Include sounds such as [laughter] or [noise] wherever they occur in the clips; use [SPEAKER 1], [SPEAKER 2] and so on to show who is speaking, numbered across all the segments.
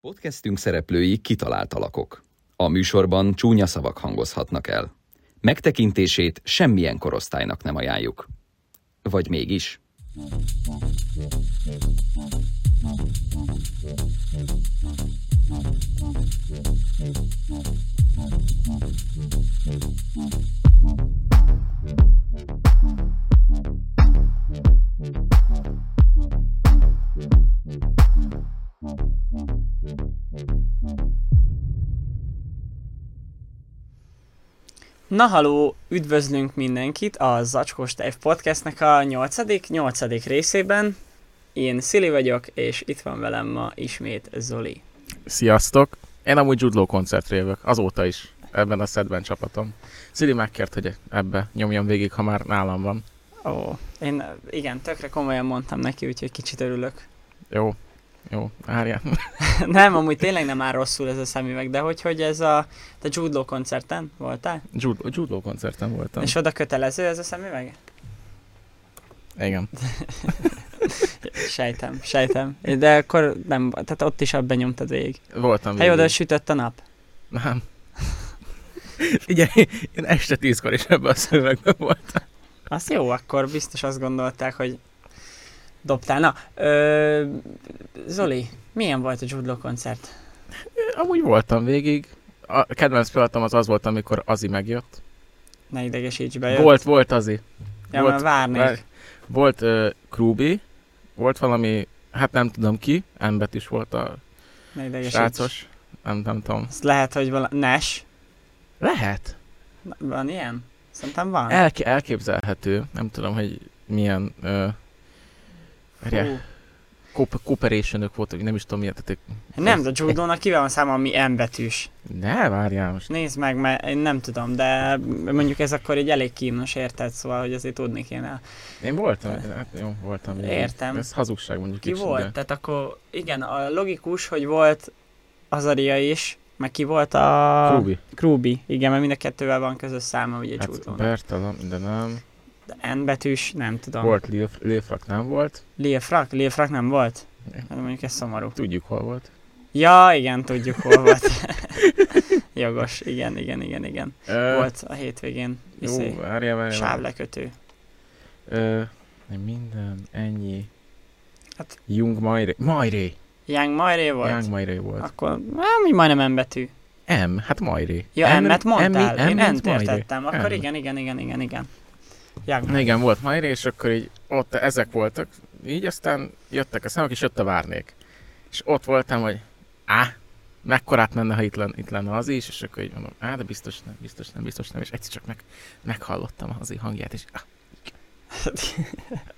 [SPEAKER 1] Podcastünk szereplői kitalált alakok. A műsorban csúnya szavak hangozhatnak el. Megtekintését semmilyen korosztálynak nem ajánljuk. Vagy mégis?
[SPEAKER 2] Na haló, üdvözlünk mindenkit a Zacskós Tejf Podcastnek a 8. 8. részében. Én Szili vagyok, és itt van velem ma ismét Zoli.
[SPEAKER 3] Sziasztok! Én amúgy Jude Law koncertre jövök, azóta is ebben a szedben csapatom. Szili megkért, hogy ebbe nyomjam végig, ha már nálam van.
[SPEAKER 2] Ó, én igen, tökre komolyan mondtam neki, úgyhogy kicsit örülök. [laughs]
[SPEAKER 3] Jó, jó, várjál. [laughs]
[SPEAKER 2] nem, amúgy tényleg nem áll rosszul ez a szemüveg, de hogy, hogy ez a... Te Jude Law koncerten voltál?
[SPEAKER 3] Jude, Jude Law koncerten voltam.
[SPEAKER 2] És oda kötelező ez a szemüveg?
[SPEAKER 3] Igen.
[SPEAKER 2] Sejtem, sejtem. De akkor nem, tehát ott is abban nyomtad végig.
[SPEAKER 3] Voltam
[SPEAKER 2] Hát jó, de sütött a nap.
[SPEAKER 3] Nem. [laughs] Figyelj, én este tízkor is ebben a szövegben voltam.
[SPEAKER 2] Azt jó, akkor biztos azt gondolták, hogy dobtál. Na, ö, Zoli, milyen volt a Jude Law koncert?
[SPEAKER 3] Amúgy voltam végig. A kedvenc pillanatom az az volt, amikor Azi megjött.
[SPEAKER 2] Ne idegesíts be.
[SPEAKER 3] Bejött. Volt, volt Azi.
[SPEAKER 2] ja,
[SPEAKER 3] volt,
[SPEAKER 2] mert várnék.
[SPEAKER 3] Várj. Volt uh, Krúbi, volt valami, hát nem tudom ki, Embet is volt a
[SPEAKER 2] Ne idegesíts.
[SPEAKER 3] Srácos, nem, nem tudom.
[SPEAKER 2] Azt lehet, hogy vala... Nes?
[SPEAKER 3] Lehet.
[SPEAKER 2] Na, Van ilyen? Szerintem van.
[SPEAKER 3] Elke- elképzelhető. Nem tudom, hogy milyen ö, várjál,
[SPEAKER 2] Hú.
[SPEAKER 3] kop- cooperation voltak, nem is tudom miért. Tehát,
[SPEAKER 2] Nem, de Jude Law-nak ki van száma, ami M betűs.
[SPEAKER 3] ne, várjál most.
[SPEAKER 2] Nézd meg, mert én nem tudom, de mondjuk ez akkor egy elég kínos érted, szóval hogy azért tudni kéne.
[SPEAKER 3] Én voltam, hát jó, voltam. igen.
[SPEAKER 2] Értem.
[SPEAKER 3] Ez hazugság mondjuk
[SPEAKER 2] Ki
[SPEAKER 3] kicsit,
[SPEAKER 2] volt?
[SPEAKER 3] De.
[SPEAKER 2] Tehát akkor igen, a logikus, hogy volt Azaria is, meg ki volt a...
[SPEAKER 3] Krúbi.
[SPEAKER 2] Krúbi, igen, mert mind a kettővel van közös száma, ugye hát,
[SPEAKER 3] Hát
[SPEAKER 2] Csúton.
[SPEAKER 3] Bertalan, de nem.
[SPEAKER 2] De N betűs, nem tudom. Volt.
[SPEAKER 3] Volt Lil- Lilfrak, nem volt.
[SPEAKER 2] Lil Frak? Lil Frak nem volt?
[SPEAKER 3] Nem.
[SPEAKER 2] Hát mondjuk ez szomorú.
[SPEAKER 3] Tudjuk, hol volt.
[SPEAKER 2] Ja, igen, tudjuk hol volt.
[SPEAKER 3] [laughs]
[SPEAKER 2] Jogos, igen, igen, igen, igen.
[SPEAKER 3] Ö,
[SPEAKER 2] Volt a hétvégén,
[SPEAKER 3] Jó,
[SPEAKER 2] izé,
[SPEAKER 3] várjál, várjál. várjál.
[SPEAKER 2] sávlekötő.
[SPEAKER 3] Ö, minden, ennyi.
[SPEAKER 2] Hát-
[SPEAKER 3] Hát. Jung Majré. Majré.
[SPEAKER 2] Young Majré volt?
[SPEAKER 3] Jung Majré volt.
[SPEAKER 2] Akkor, hát, mi majdnem M betű.
[SPEAKER 3] M, hát Majri.
[SPEAKER 2] Ja, M-et mondtál,
[SPEAKER 3] M,
[SPEAKER 2] én
[SPEAKER 3] mint
[SPEAKER 2] N-t
[SPEAKER 3] Majri.
[SPEAKER 2] értettem. Akkor
[SPEAKER 3] M.
[SPEAKER 2] igen, igen, igen, igen, igen. Young.
[SPEAKER 3] Na igen, volt Majri, és akkor így ott ezek voltak, így aztán jöttek a számok, és jött a várnék. És ott voltam, hogy á, mekkorát menne, ha itt, len, itt lenne az is, és akkor így mondom, á, de biztos nem, biztos nem, biztos nem, és egyszer csak meg, meghallottam az hangját, és á,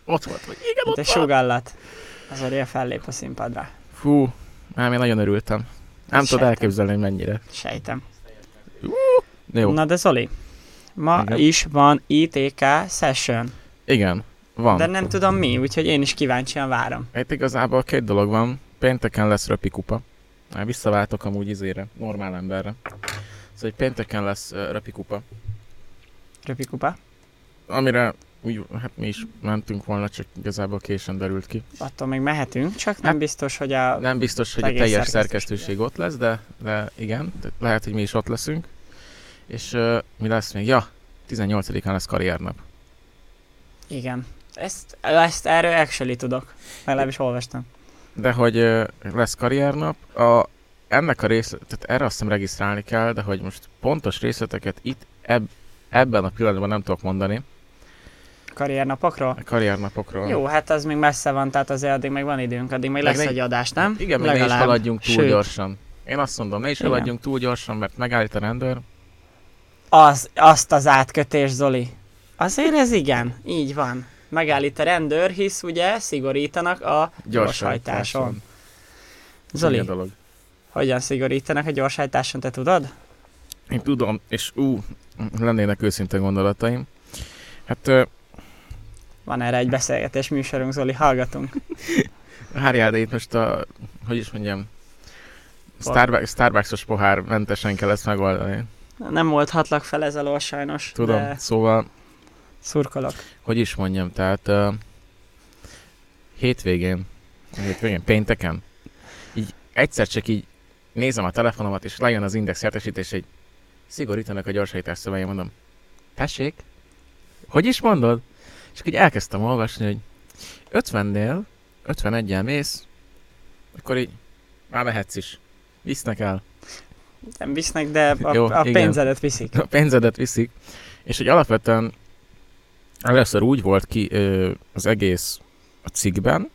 [SPEAKER 3] ott volt, hogy igen,
[SPEAKER 2] Te
[SPEAKER 3] ott van.
[SPEAKER 2] sugállat. Azaria fellép a színpadra.
[SPEAKER 3] Fú, már én nagyon örültem. Nem tudod
[SPEAKER 2] sejtem.
[SPEAKER 3] elképzelni, hogy mennyire.
[SPEAKER 2] Sejtem.
[SPEAKER 3] Jó, Na.
[SPEAKER 2] Na de Zoli, ma
[SPEAKER 3] Igen.
[SPEAKER 2] is van ITK session,
[SPEAKER 3] igen, van.
[SPEAKER 2] de
[SPEAKER 3] De...
[SPEAKER 2] nem tudom mi, úgyhogy én is kíváncsian várom.
[SPEAKER 3] Itt igazából két dolog van. Pénteken lesz röpikupa. Már visszaváltok amúgy izére, normál emberre. Szóval egy pénteken lesz ö, röpikupa,
[SPEAKER 2] Röpikupa,
[SPEAKER 3] amire úgy, hát mi is mentünk volna, csak igazából későn derült ki.
[SPEAKER 2] attól még mehetünk, csak
[SPEAKER 3] Hát-
[SPEAKER 2] nem biztos, hogy a...
[SPEAKER 3] Nem biztos, hogy a
[SPEAKER 2] Egész
[SPEAKER 3] teljes
[SPEAKER 2] szerkesztőség.
[SPEAKER 3] szerkesztőség ott lesz, de, de igen, de lehet, hogy mi is ott leszünk. És uh, mi lesz még? Ja, 18-án lesz karriernap.
[SPEAKER 2] Igen. Ezt, ezt erről actually tudok. Legalábbis olvastam.
[SPEAKER 3] De hogy ö, lesz karriernap, a, ennek a rész, tehát erre azt hiszem regisztrálni kell, de hogy most pontos részleteket itt eb, ebben a pillanatban nem tudok mondani
[SPEAKER 2] Karriernapokról?
[SPEAKER 3] a karriernapokról.
[SPEAKER 2] Jó, hát az még messze van, tehát azért addig még van időnk, addig még
[SPEAKER 3] Meg
[SPEAKER 2] lesz
[SPEAKER 3] ne-
[SPEAKER 2] egy adás, nem?
[SPEAKER 3] Hát Igen, meg ne is haladjunk túl
[SPEAKER 2] Sőt,
[SPEAKER 3] Sőt. gyorsan. Én azt mondom, ne is
[SPEAKER 2] Igen.
[SPEAKER 3] haladjunk túl gyorsan, mert megállít a rendőr.
[SPEAKER 2] Az, azt az átkötés, Zoli. Azért ez igen, így van. Megállít a rendőr, hisz ugye szigorítanak a gyorshajtáson. Zoli,
[SPEAKER 3] Zoli. dolog.
[SPEAKER 2] hogyan szigorítanak a gyorshajtáson, te tudod?
[SPEAKER 3] Én tudom, és ú, lennének őszinte gondolataim. Hát ö,
[SPEAKER 2] Van erre egy beszélgetés műsorunk, Zoli, hallgatunk.
[SPEAKER 3] Várjál, de itt most a, hogy is mondjam, Starbucks, Starbucksos pohár mentesen kell ezt megoldani.
[SPEAKER 2] Nem oldhatlak fel ez alól sajnos,
[SPEAKER 3] Tudom,
[SPEAKER 2] de
[SPEAKER 3] szóval,
[SPEAKER 2] szurkolok.
[SPEAKER 3] hogy is mondjam, tehát uh, hétvégén, hétvégén, pénteken, így egyszer csak így nézem a telefonomat, és lejön az index értesítés, hogy szigorítanak a gyorsítás szövegén, mondom, tessék, hogy is mondod? És akkor így elkezdtem olvasni, hogy 50-nél, 51-el mész, akkor így már mehetsz is. Visznek el.
[SPEAKER 2] Nem visznek, de a,
[SPEAKER 3] Jó,
[SPEAKER 2] a
[SPEAKER 3] igen.
[SPEAKER 2] pénzedet viszik.
[SPEAKER 3] a pénzedet viszik, és hogy alapvetően először úgy volt ki ö, az egész a cikkben,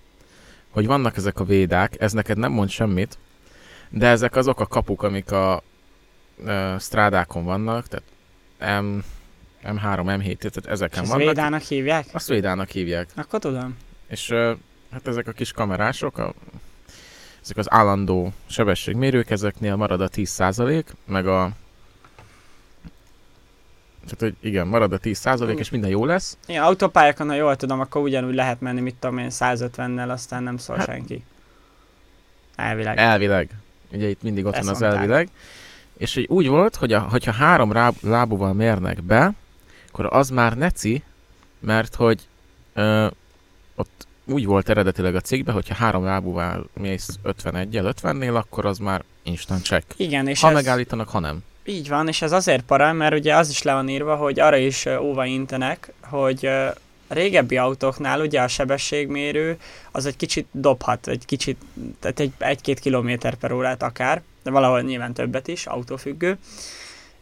[SPEAKER 3] hogy vannak ezek a védák, ez neked nem mond semmit, de ezek azok a kapuk, amik a ö, strádákon vannak, tehát M, M3, M7, tehát
[SPEAKER 2] És
[SPEAKER 3] ezeken
[SPEAKER 2] ezt
[SPEAKER 3] vannak.
[SPEAKER 2] Védának hívják?
[SPEAKER 3] Azt védának hívják.
[SPEAKER 2] Akkor tudom.
[SPEAKER 3] És ö, hát ezek a kis kamerások, a, ezek az állandó sebességmérők, ezeknél marad a 10%, meg a... Tehát, hogy igen, marad a 10% és minden jó lesz.
[SPEAKER 2] Igen, autópályákon, ha jól tudom, akkor ugyanúgy lehet menni, mit tudom én, 150-nel, aztán nem szól
[SPEAKER 3] Hát-
[SPEAKER 2] senki. Elvileg.
[SPEAKER 3] Elvileg. Ugye itt mindig ott
[SPEAKER 2] Hm. Ezt
[SPEAKER 3] van az
[SPEAKER 2] mondták.
[SPEAKER 3] elvileg. És hogy úgy volt, hogy a, hogyha három ráb, lábúval mérnek be, akkor az már neci, mert hogy ö, ott úgy volt eredetileg a cikkben, hogyha három lábúval mész 51-el, 50-nél, akkor az már instant check.
[SPEAKER 2] Igen, és
[SPEAKER 3] ha
[SPEAKER 2] ez,
[SPEAKER 3] megállítanak, ha nem.
[SPEAKER 2] így van, és ez azért para, mert ugye az is le van írva, hogy arra is ö, óva intenek, hogy ö, régebbi autóknál ugye a sebességmérő az egy kicsit dobhat, egy kicsit, tehát egy, egy-két kilométer per órát akár, de valahol nyilván többet is, autófüggő.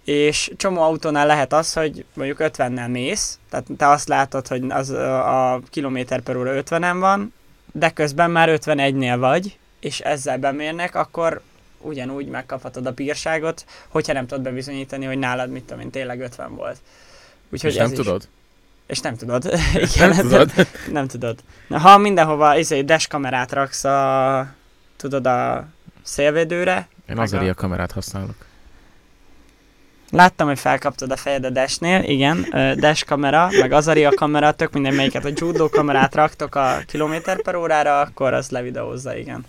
[SPEAKER 2] És csomó autónál lehet az, hogy mondjuk 50-nel mész, tehát te azt látod, hogy az a, a kilométer per óra 50-en van, de közben már 51-nél vagy, és ezzel bemérnek, akkor ugyanúgy megkaphatod a bírságot, hogyha nem tudod bebizonyítani, hogy nálad mit tudom én, tényleg 50 volt. Úgyhogy
[SPEAKER 3] és nem
[SPEAKER 2] ez is-
[SPEAKER 3] tudod?
[SPEAKER 2] És nem tudod. [laughs] Igen, hát-
[SPEAKER 3] Nem
[SPEAKER 2] ez-
[SPEAKER 3] tudod?
[SPEAKER 2] nem tudod. Na, ha mindenhova izé, deskamerát raksz a, tudod, a szélvédőre,
[SPEAKER 3] Én
[SPEAKER 2] Meg
[SPEAKER 3] az elé
[SPEAKER 2] a-
[SPEAKER 3] a kamerát használok.
[SPEAKER 2] láttam, hogy felkaptad a fejed a desnél, igen, ö, des kamera, meg azaria kamera, tök minden melyiket, a judo kamerát raktok a kilométer per órára, akkor az levideózza, igen.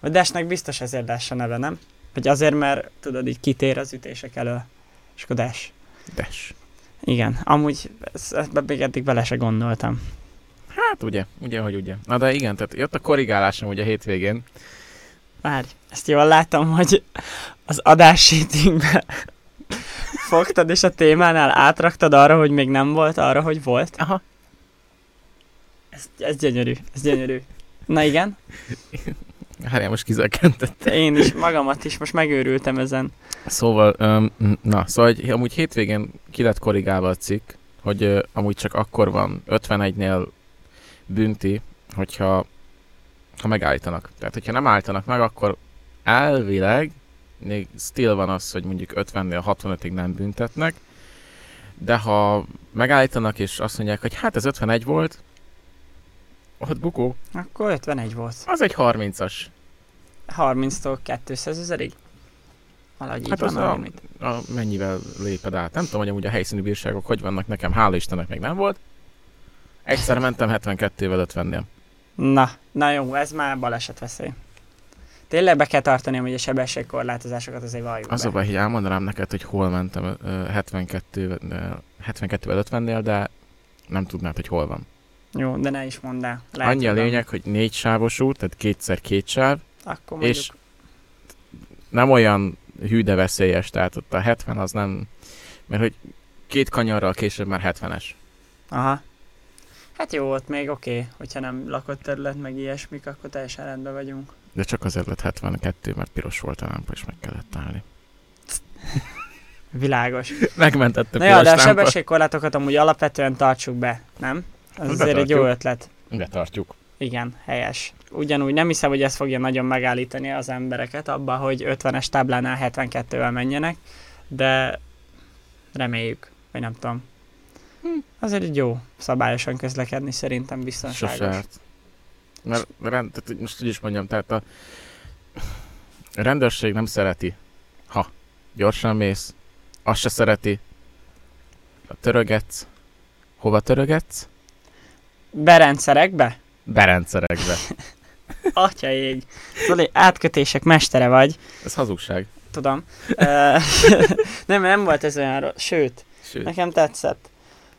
[SPEAKER 2] A desnek biztos ezért des a neve, nem? Vagy azért, mert tudod, így kitér az ütések elől, és akkor des.
[SPEAKER 3] Des.
[SPEAKER 2] Igen, amúgy ezt, ebbe még eddig bele se gondoltam.
[SPEAKER 3] Hát ugye, ugye, hogy ugye. Na de igen, tehát jött a korrigálásom ugye hétvégén.
[SPEAKER 2] Várj, ezt jól látom, hogy az adássítingbe fogtad, és a témánál átraktad arra, hogy még nem volt, arra, hogy volt.
[SPEAKER 3] Aha.
[SPEAKER 2] Ez, ez gyönyörű, ez gyönyörű. Na igen,
[SPEAKER 3] Hát most kizökkentett.
[SPEAKER 2] te én is, magamat is, most megőrültem ezen.
[SPEAKER 3] Szóval, um, na, szóval egy, amúgy hétvégén ki lett korrigálva a cikk, hogy uh, amúgy csak akkor van 51-nél bünti, hogyha ha megállítanak. Tehát, hogyha nem állítanak meg, akkor elvileg még still van az, hogy mondjuk 50-nél 65-ig nem büntetnek, de ha megállítanak és azt mondják, hogy hát ez 51 volt, ott bukó,
[SPEAKER 2] Akkor 51 volt.
[SPEAKER 3] az egy 30-as.
[SPEAKER 2] 30-tól 200 ezerig? Valahogy így
[SPEAKER 3] Hát
[SPEAKER 2] van,
[SPEAKER 3] az
[SPEAKER 2] valami.
[SPEAKER 3] a- a, mennyivel léped át. Nem tudom, hogy amúgy a helyszíni bírságok hogy vannak nekem, hála Istennek még nem volt. Egyszer mentem 72-vel 50-nél.
[SPEAKER 2] Na, na jó, ez már balesetveszély. Tényleg be kell tartani, hogy a sebességkorlátozásokat azért valljuk
[SPEAKER 3] Az a
[SPEAKER 2] be.
[SPEAKER 3] baj, hogy elmondanám neked, hogy hol mentem ö, ö, 72-vel 72-vel 50-nél, de nem tudnád, hogy hol van.
[SPEAKER 2] Jó, de ne is mondd el. Lehet,
[SPEAKER 3] Lehet, Annyi a
[SPEAKER 2] tudom.
[SPEAKER 3] lényeg, hogy négy sávos út, tehát kétszer két sáv,
[SPEAKER 2] Akkor mondjuk...
[SPEAKER 3] és- nem olyan hű, de veszélyes, tehát ott a 70 az nem... Mert hogy két kanyarral később már 70-es.
[SPEAKER 2] Aha. Hát jó, ott még oké, okay. hogyha nem lakott terület, meg ilyesmik, akkor teljesen rendben vagyunk.
[SPEAKER 3] De csak azért lett 72, mert piros volt a lámpa, és meg kellett állni.
[SPEAKER 2] Világos.
[SPEAKER 3] Megmentett a
[SPEAKER 2] Na jó,
[SPEAKER 3] piros
[SPEAKER 2] de a
[SPEAKER 3] lámpa.
[SPEAKER 2] sebességkorlátokat amúgy alapvetően tartsuk be, nem? Ez
[SPEAKER 3] Hát
[SPEAKER 2] azért egy jó
[SPEAKER 3] betartjuk.
[SPEAKER 2] ötlet.
[SPEAKER 3] Betartjuk.
[SPEAKER 2] Igen, helyes. Ugyanúgy nem hiszem, hogy ez fogja nagyon megállítani az embereket abba, hogy 50-es táblánál 72-vel menjenek, de reméljük, vagy nem tudom. Azért egy jó szabályosan közlekedni szerintem biztonságos.
[SPEAKER 3] Sose árt. Mert rend, tehát, hogy most úgy is mondjam, tehát a a rendőrség nem szereti, ha gyorsan mész, azt se szereti, ha törögetsz, hova törögetsz?
[SPEAKER 2] Berendszerekbe?
[SPEAKER 3] Berendszerekbe.
[SPEAKER 2] Atya ég. Zoli, átkötések mestere vagy.
[SPEAKER 3] Ez hazugság.
[SPEAKER 2] Tudom. Ö, [laughs] nem, nem volt ez olyan rossz. Sőt,
[SPEAKER 3] Sőt,
[SPEAKER 2] nekem tetszett.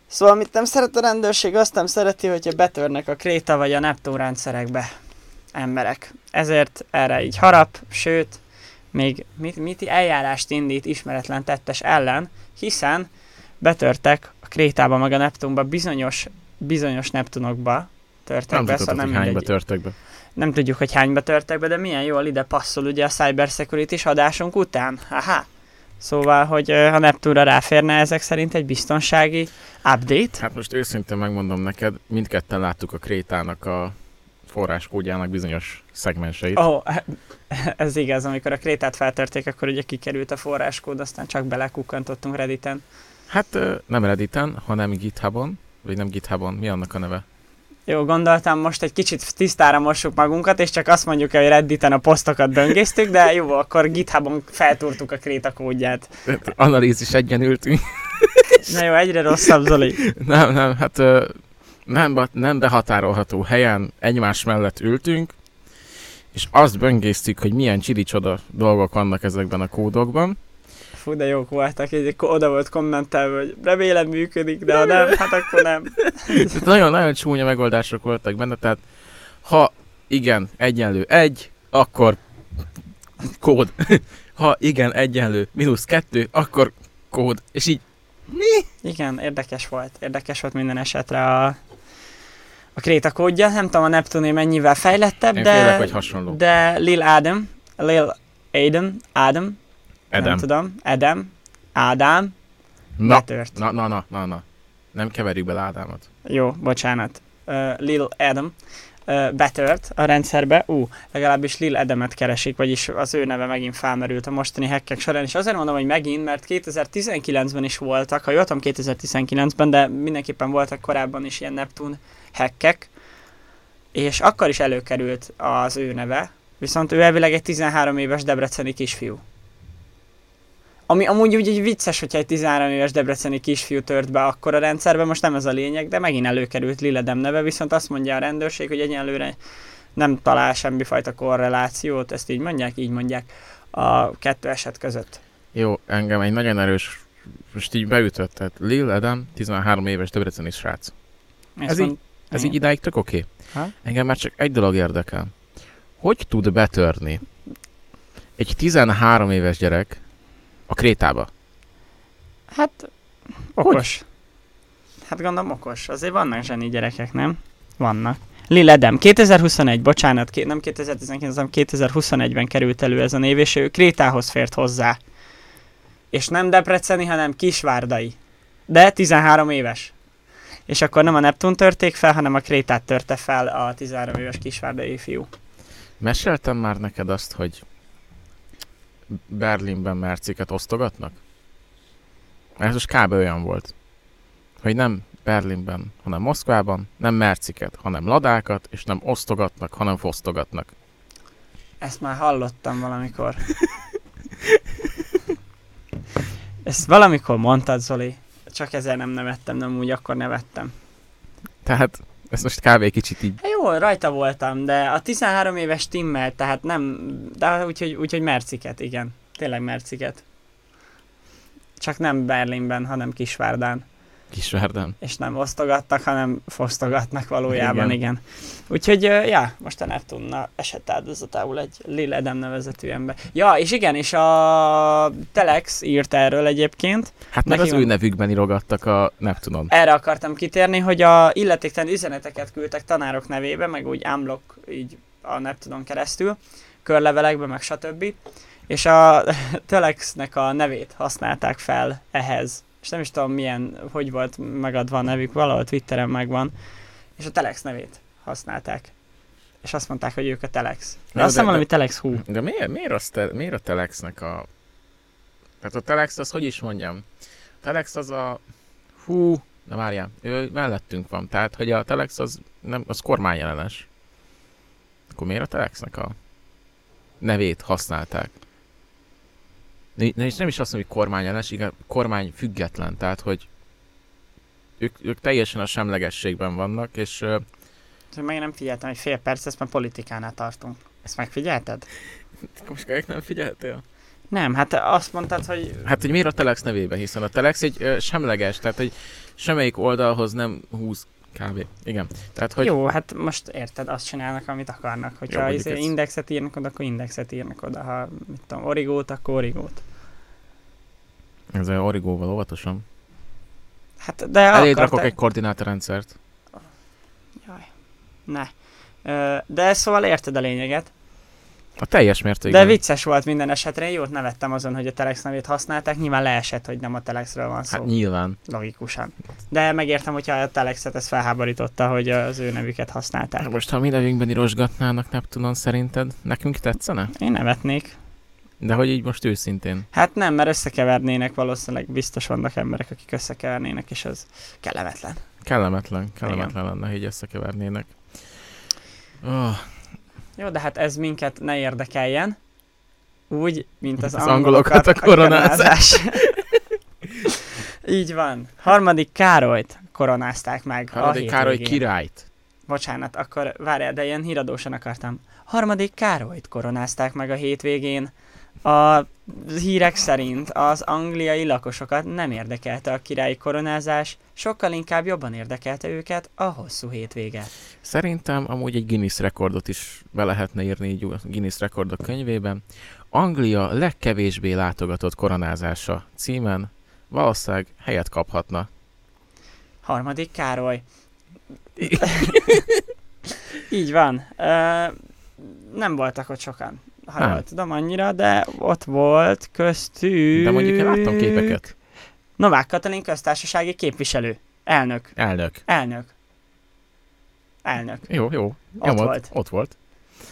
[SPEAKER 2] Szóval, amit nem szeret a rendőrség, azt nem szereti, hogyha betörnek a kréta vagy a neptun rendszerekbe emberek. Ezért erre így harap, sőt, még mit, mit eljárást indít ismeretlen tettes ellen, hiszen betörtek a Krétába meg a Neptunba bizonyos, bizonyos Neptunokba törtek
[SPEAKER 3] Nem
[SPEAKER 2] be,
[SPEAKER 3] tudtad,
[SPEAKER 2] szóval
[SPEAKER 3] hogy
[SPEAKER 2] nem,
[SPEAKER 3] hányba
[SPEAKER 2] mindegy.
[SPEAKER 3] törtek be.
[SPEAKER 2] nem tudjuk, hogy hányba törtek be, de milyen jól ide passzol ugye a cybersecurity adásunk után. Haha. Szóval, hogy ö, ha Neptunra ráférne ezek szerint egy biztonsági update,
[SPEAKER 3] Hát most őszintén megmondom neked, mindketten láttuk a Krétának a forráskódjának bizonyos szegmenseit.
[SPEAKER 2] Ó, [laughs] oh, ez igaz, amikor a krétát feltörték, akkor ugye kikerült a forráskód, aztán csak belekukkantottunk Redditen.
[SPEAKER 3] Hát ö, nem Redditen, hanem GitHubon, vagy nem GitHubon, mi annak a neve?
[SPEAKER 2] Jó, gondoltam, most egy kicsit tisztára mossuk magunkat, és csak azt mondjuk, hogy Redditen a posztokat böngésztük, de jó, akkor GitHubon feltúrtuk a kréta kódját.
[SPEAKER 3] Analízis egyen ültünk.
[SPEAKER 2] Na jó, egyre rosszabb, Zoli.
[SPEAKER 3] [laughs] nem, nem, hát ö, nem, ba- nem behatárolható helyen egymás mellett ültünk, és azt böngésztük, hogy milyen csiricsoda dolgok vannak ezekben a kódokban.
[SPEAKER 2] Fú, de jók voltak, így ko- oda volt kommentelve, hogy remélem működik, de ha nem, hát akkor nem.
[SPEAKER 3] Tehát Nagyon-nagyon csúnya megoldások voltak benne, tehát ha igen, egyenlő egy, akkor kód. [laughs] Ha igen, egyenlő mínusz kettő, akkor kód. És így
[SPEAKER 2] Igen, érdekes volt. Érdekes volt minden esetre a, a kréta kódja. Nem tudom, a Neptuné mennyivel fejlettebb,
[SPEAKER 3] én
[SPEAKER 2] de...
[SPEAKER 3] félek, hogy hasonló.
[SPEAKER 2] De Lil Adam, Lil Adam, Adam, nem
[SPEAKER 3] Edem.
[SPEAKER 2] tudom, Adam, Ádám,
[SPEAKER 3] Na,
[SPEAKER 2] betört.
[SPEAKER 3] na, na, na, na, na. Nem keverjük bele Ádámot.
[SPEAKER 2] Jó, bocsánat. Uh, Lil Adam uh, betört a rendszerbe. Ú, legalábbis Lil Adamet keresik, vagyis az ő neve megint felmerült a mostani hekkek során. És azért mondom, hogy megint, mert 2019-ben is voltak, ha jól tudom 2019-ben, de mindenképpen voltak korábban is ilyen Neptun hekkek. És akkor is előkerült az ő neve, viszont ő elvileg egy 13 éves debreceni kisfiú. Ami amúgy úgy egy vicces, hogyha egy 13 éves debreceni kisfiú tört be akkor a rendszerbe, most nem ez a lényeg, de megint előkerült Liledem neve, viszont azt mondja a rendőrség, hogy egyenlőre nem talál semmifajta korrelációt, ezt így mondják, így mondják a kettő eset között.
[SPEAKER 3] Jó, engem egy nagyon erős, most így beütött, tehát Lil Edem, 13 éves debreceni srác.
[SPEAKER 2] Ezt
[SPEAKER 3] Ez így- Ez így idáig tök oké.
[SPEAKER 2] Ha?
[SPEAKER 3] Engem már csak egy dolog érdekel. Hogy tud betörni egy 13 éves gyerek a krétába?
[SPEAKER 2] Hát, okos. Hát gondolom okos. Azért vannak zseni gyerekek, nem? Vannak. Liledem, 2021, bocsánat, ké- nem 2019, hanem 2021-ben került elő ez a név, és ő Krétához fért hozzá. És nem Debreceni, hanem Kisvárdai. De 13 éves. És akkor nem a Neptun törték fel, hanem a Krétát törte fel a 13 éves Kisvárdai fiú.
[SPEAKER 3] Meséltem már neked azt, hogy Berlinben merciket osztogatnak? Ez most kb. olyan volt, hogy nem Berlinben, hanem Moszkvában, nem merciket, hanem ladákat, és nem osztogatnak, hanem fosztogatnak.
[SPEAKER 2] Ezt már hallottam valamikor. Ezt valamikor mondtad, Zoli. Csak ezzel nem nevettem, nem úgy akkor nevettem.
[SPEAKER 3] Tehát ez most kb. kicsit így
[SPEAKER 2] Hát jó, rajta voltam, de a 13 éves Timmel, tehát nem... De úgyhogy, úgyhogy Merciket, igen. Tényleg Merciket. Csak nem Berlinben, hanem Kisvárdán.
[SPEAKER 3] kisvárdám.
[SPEAKER 2] És nem osztogattak, hanem fosztogatnak valójában, igen.
[SPEAKER 3] Igen.
[SPEAKER 2] igen. Úgyhogy, ö, ja, most a Neptunna esett áldozatául egy Lil Edem nevezetű ember. Ja, és igen, és a Telex írt erről egyébként.
[SPEAKER 3] Hát meg
[SPEAKER 2] Neki
[SPEAKER 3] az ő
[SPEAKER 2] van.
[SPEAKER 3] nevükben irogattak a Neptunon.
[SPEAKER 2] Erre akartam kitérni, hogy a illetéktelen üzeneteket küldtek tanárok nevébe, meg úgy ámblok így a Neptunon keresztül, körlevelekbe, meg stb. És a [laughs] Telexnek a nevét használták fel ehhez. És nem is tudom milyen, hogy volt megadva a nevük, valahol Twitteren megvan. És a Telex nevét használták. És azt mondták, hogy ők a Telex. De
[SPEAKER 3] Jó,
[SPEAKER 2] azt hiszem
[SPEAKER 3] de-
[SPEAKER 2] valami Telex hú.
[SPEAKER 3] De miért, miért, az te, miért a Telexnek a... Tehát a Telex az, hogy is mondjam? A Telex az a... Hú, na várjál, ő mellettünk van. Tehát, hogy a Telex az, nem, az kormányellenes. Akkor miért a Telexnek a nevét használták? Né- ne- És nem is azt mondom, hogy kormányellenes, igen, kormány független. Tehát, hogy ők, ők teljesen a semlegességben vannak, és ö,
[SPEAKER 2] Meg nem figyeltem, hogy fél perc, ezt már politikánál tartunk. Ezt megfigyelted?
[SPEAKER 3] most nem figyeltél?
[SPEAKER 2] Nem, hát azt mondtad, hogy
[SPEAKER 3] Hát, hogy miért a Telex nevében, hiszen a Telex egy ö, semleges, tehát egy semmelyik oldalhoz nem húz Kb. Igen. Tehát, hogy
[SPEAKER 2] Jó, hát most érted, azt csinálnak, amit akarnak.
[SPEAKER 3] Jó,
[SPEAKER 2] Hogyha
[SPEAKER 3] mondjuk
[SPEAKER 2] izé
[SPEAKER 3] ez-
[SPEAKER 2] indexet írnak oda, akkor indexet írnak oda. Ha mit tudom, origót, akkor origót.
[SPEAKER 3] ez a origóval óvatosan.
[SPEAKER 2] Hát, de
[SPEAKER 3] Elé
[SPEAKER 2] akarták-
[SPEAKER 3] rakok egy koordinátorrendszert.
[SPEAKER 2] Jaj, ne. Ö, De szóval érted a lényeget.
[SPEAKER 3] A teljes mértékben.
[SPEAKER 2] De vicces volt minden esetre, én jót nevettem azon, hogy a Telex nevét használták, nyilván leesett, hogy nem a Telexről van szó,
[SPEAKER 3] Hát nyilván.
[SPEAKER 2] logikusan. De megértem, hogyha a Telexet ez felháborította, hogy az ő nevüket használták.
[SPEAKER 3] Hát most, ha mi nevünkben irosgatnának Neptunon, szerinted nekünk tetszene?
[SPEAKER 2] Én nevetnék.
[SPEAKER 3] De hogy így most őszintén.
[SPEAKER 2] Hát nem, mert összekevernének, valószínűleg biztos vannak emberek, akik összekevernének, és az kellemetlen.
[SPEAKER 3] Kellemetlen, kellemetlen lenne, ha így összekevernének. Oh,
[SPEAKER 2] Jó, de hát ez minket ne érdekeljen. Úgy, mint az,
[SPEAKER 3] Az angolokat a koronázás.
[SPEAKER 2] Így van. Harmadik Károlyt koronázták meg. a
[SPEAKER 3] Harmadik Károly
[SPEAKER 2] hétvégén.
[SPEAKER 3] királyt.
[SPEAKER 2] Bocsánat, akkor várjál, de ilyen híradósan akartam. Harmadik Károlyt koronázták meg a hétvégén. A hírek szerint az angliai lakosokat nem érdekelte a királyi koronázás, sokkal inkább jobban érdekelte őket a hosszú hétvége.
[SPEAKER 3] Szerintem amúgy egy Guinness rekordot is be lehetne írni így a Guinness rekordok könyvében. Anglia legkevésbé látogatott koronázása címen valószínűleg helyet kaphatna.
[SPEAKER 2] Harmadik
[SPEAKER 3] [laughs]
[SPEAKER 2] Károly. Így van. Ö, nem voltak ott sokan, ha
[SPEAKER 3] Nem.
[SPEAKER 2] jól tudom annyira, de ott volt köztük...
[SPEAKER 3] De mondjuk én láttam képeket.
[SPEAKER 2] Novák Katalin köztársasági képviselő. Elnök.
[SPEAKER 3] Elnök.
[SPEAKER 2] Elnök. Elnök.
[SPEAKER 3] Jó, jó.
[SPEAKER 2] Ott volt.
[SPEAKER 3] Ott volt.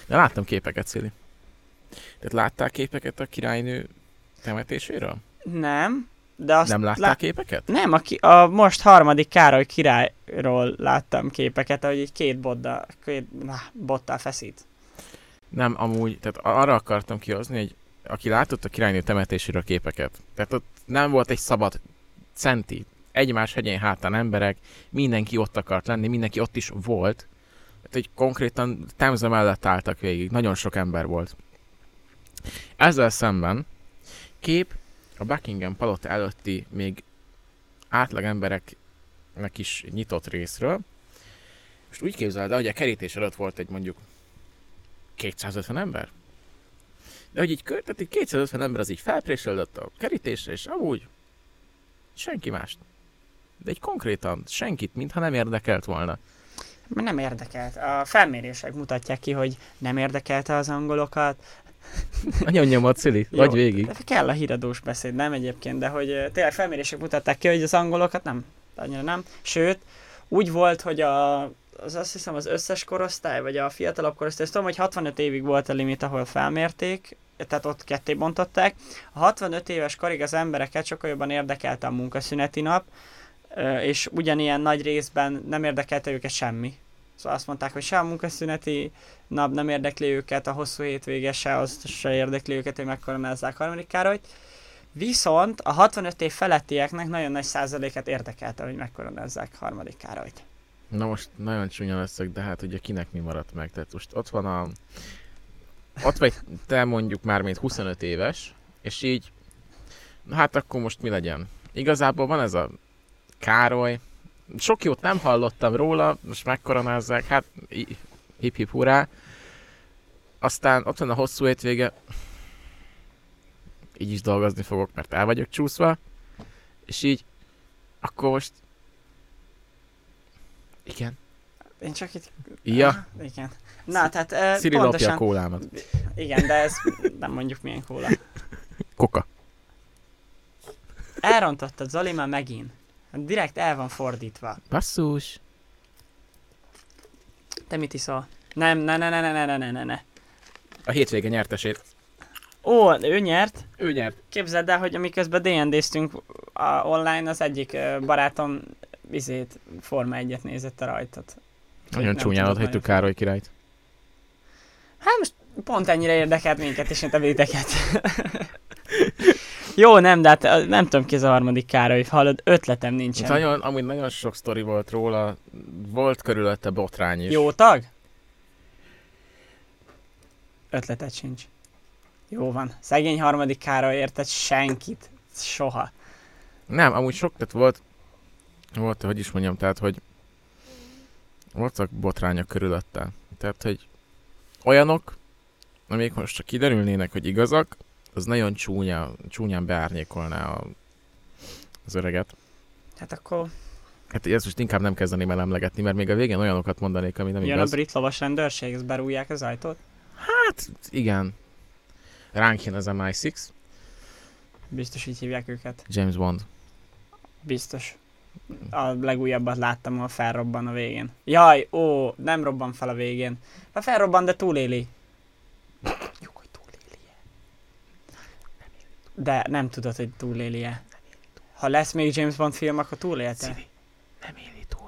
[SPEAKER 3] De láttam képeket, Szili. Tehát láttál képeket a királynő temetéséről?
[SPEAKER 2] Nem, de azt...
[SPEAKER 3] Nem láttál képeket?
[SPEAKER 2] Nem, a, ki, a most harmadik Károly királyról láttam képeket, ahogy így két bodda, két, na, bottal feszít.
[SPEAKER 3] Nem, amúgy, tehát arra akartam kihozni, hogy aki látott a királynő temetéséről képeket, tehát ott nem volt egy szabad centi, egymás hegyén hátán emberek, mindenki ott akart lenni, mindenki ott is volt, tehát egy konkrétan Temze mellett álltak végig, nagyon sok ember volt. Ezzel szemben kép a Buckingham palota előtti még átlag embereknek is nyitott részről, most úgy képzeld el, hogy a kerítés előtt volt egy mondjuk 250 ember? De hogy így, kö- tehát így 250 ember az így felpréselődött a kerítésre, és amúgy senki mást. De egy konkrétan senkit, mintha nem érdekelt volna.
[SPEAKER 2] Nem érdekelt. A felmérések mutatják ki, hogy nem érdekelte az angolokat.
[SPEAKER 3] Nagyon nyomott, Szili,
[SPEAKER 2] Jó,
[SPEAKER 3] vagy végig.
[SPEAKER 2] de Kell a híradós beszéd, nem egyébként, de hogy ö, tényleg felmérések mutatták ki, hogy az angolokat nem, annyira nem. Sőt, úgy volt, hogy a, az azt hiszem az összes korosztály, vagy a fiatalabb korosztály, azt tudom, hogy 65 évig volt a limit, ahol felmérték, tehát ott ketté bontották. A 65 éves korig az embereket sokkal jobban érdekelte a munkaszüneti nap, ö, és ugyanilyen nagy részben nem érdekelte őket semmi. Szóval azt mondták, hogy se a munkaszüneti nap nem érdekli őket, a hosszú hétvége se, az se érdekli őket, hogy megkoronázzák harmadik Károlyt. Viszont a 65 év felettieknek nagyon nagy százalékát érdekelte, hogy megkoronázzák harmadik Károlyt.
[SPEAKER 3] Na most nagyon csúnya leszek, de hát ugye kinek mi maradt meg? Tehát most ott van a... Ott vagy te mondjuk már mint 25 éves, és így... Na hát akkor most mi legyen? Igazából van ez a Károly. Sok jót nem hallottam róla, most megkoronázzák, hát i- hip hip hurrá. Aztán ott van a hosszú hétvége. Így is dolgozni fogok, mert el vagyok csúszva. És így, akkor most... Igen.
[SPEAKER 2] Én csak itt...
[SPEAKER 3] Ja,
[SPEAKER 2] Ah, igen. Na, tehát eh,
[SPEAKER 3] Szili lopja a
[SPEAKER 2] pontosan...
[SPEAKER 3] kólámat.
[SPEAKER 2] Igen, de ez nem mondjuk milyen kóla.
[SPEAKER 3] Koka.
[SPEAKER 2] Elrontottad Zoli már megint. Hát Direkt el van fordítva.
[SPEAKER 3] Basszus.
[SPEAKER 2] Te mit iszol? Nem, ne, ne, ne, ne, ne, ne, ne, ne.
[SPEAKER 3] A hétvége nyertesét.
[SPEAKER 2] Ó, ő nyert.
[SPEAKER 3] Ő nyert.
[SPEAKER 2] Képzeld el, hogy amiközben D&D-ztünk a- online, az egyik ö, barátom izét, Forma 1-et nézett a rajtot.
[SPEAKER 3] Nagyon
[SPEAKER 2] Nem
[SPEAKER 3] csúnyán
[SPEAKER 2] tudom,
[SPEAKER 3] ott hagytuk
[SPEAKER 2] nagyon.
[SPEAKER 3] Károly királyt.
[SPEAKER 2] Hát most pont ennyire érdekelt minket, és nem titeket. Jó, nem, de hát ö, nem tudom ki ez a harmadik Károly, hallod, ötletem
[SPEAKER 3] Itt
[SPEAKER 2] nincsen.
[SPEAKER 3] Nagyon, amúgy nagyon sok sztori volt róla. Volt körülötte botrány is.
[SPEAKER 2] Jó tag? Ötleted sincs. Jó van. Szegény harmadik Károly érted senkit. Soha.
[SPEAKER 3] Nem, amúgy sok, tehát volt, volt, hogy is mondjam, tehát, hogy voltak botrányok körülötte. Tehát, hogy olyanok, amik most csak kiderülnének, hogy igazak, az nagyon csúnya, csúnyán beárnyékolná a, az öreget.
[SPEAKER 2] Hát akkor
[SPEAKER 3] Hát ezt most inkább nem kezdeném el emlegetni, mert még a végén olyanokat mondanék, ami nem
[SPEAKER 2] jön
[SPEAKER 3] igaz.
[SPEAKER 2] a brit lovas rendőrség, ezt berújják az ajtót.
[SPEAKER 3] Igen. Ránk jön az MI6,
[SPEAKER 2] Biztos így hívják őket.
[SPEAKER 3] James Bond.
[SPEAKER 2] Biztos. A legújabbat láttam, ahol felrobban a végén. Jaj, ó, nem robban fel a végén. Ha felrobban, de túléli. Tudjuk, hogy túléli-e. De nem tudod, hogy túléli-e. Ha lesz még James Bond film, akkor túlélte.
[SPEAKER 3] Nem éli túl.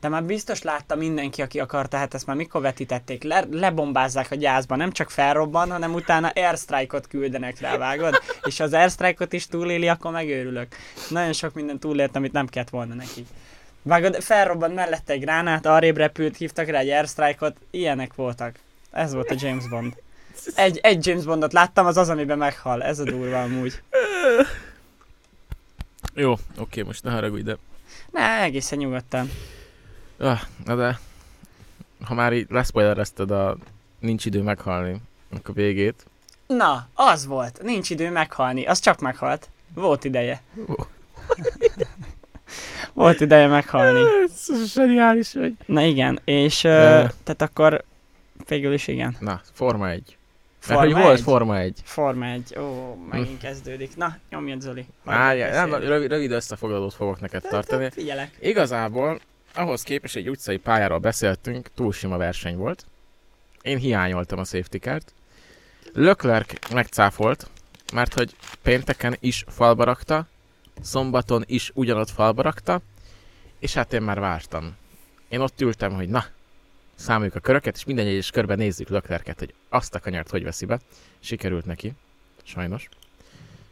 [SPEAKER 2] De már biztos látta mindenki, aki akarta, hát ezt már mikor vetítették. Le, lebombázzák a gyászba, nem csak felrobban, hanem utána airstrike-ot küldenek rá, vágod? És ha az airstrike-ot is túléli, akkor megőrülök. Nagyon sok minden túlélt, amit nem kellett volna neki. Vágod, felrobban mellette egy gránát, arrébb repült, hívtak rá egy airstrike-ot, ilyenek voltak. Ez volt a James Bond. Egy, egy James Bondot láttam, az az, amiben meghal. Ez a durva amúgy.
[SPEAKER 3] Jó, oké, most ne haragudj, de...
[SPEAKER 2] Ne, egészen nyugodtan.
[SPEAKER 3] Ah, na de... Ha már így leszpoilerezted a nincs idő meghalni, akkor végét.
[SPEAKER 2] Na, az volt. Nincs idő meghalni. Az csak meghalt. Volt ideje. [laughs]
[SPEAKER 3] Ó.
[SPEAKER 2] Volt ideje meghalni.
[SPEAKER 3] Ez zseniális, hogy...
[SPEAKER 2] Na igen, és ö,
[SPEAKER 3] Ö.
[SPEAKER 2] tehát akkor végül is igen.
[SPEAKER 3] Na, Forma 1. Mert
[SPEAKER 2] Forma
[SPEAKER 3] hogy volt
[SPEAKER 2] 1?
[SPEAKER 3] Forma 1.
[SPEAKER 2] Forma 1. Ó, megint kezdődik. Na, nyomjad Zoli.
[SPEAKER 3] Várjál, Hm. nem,
[SPEAKER 2] Beszélj.
[SPEAKER 3] rövid, rövid összefoglalót fogok neked tartani.
[SPEAKER 2] Figyelek.
[SPEAKER 3] Igazából ahhoz képest egy utcai pályáról beszéltünk, túl sima verseny volt. Én hiányoltam a safety kárt. Leclerc megcáfolt, mert hogy pénteken is falba rakta, szombaton is ugyanott falba rakta, és hát én már vártam. Én ott ültem, hogy na, számoljuk a köröket, és minden egyes körben nézzük Leclercet, hogy azt a kanyart hogy veszi be. Sikerült neki, sajnos.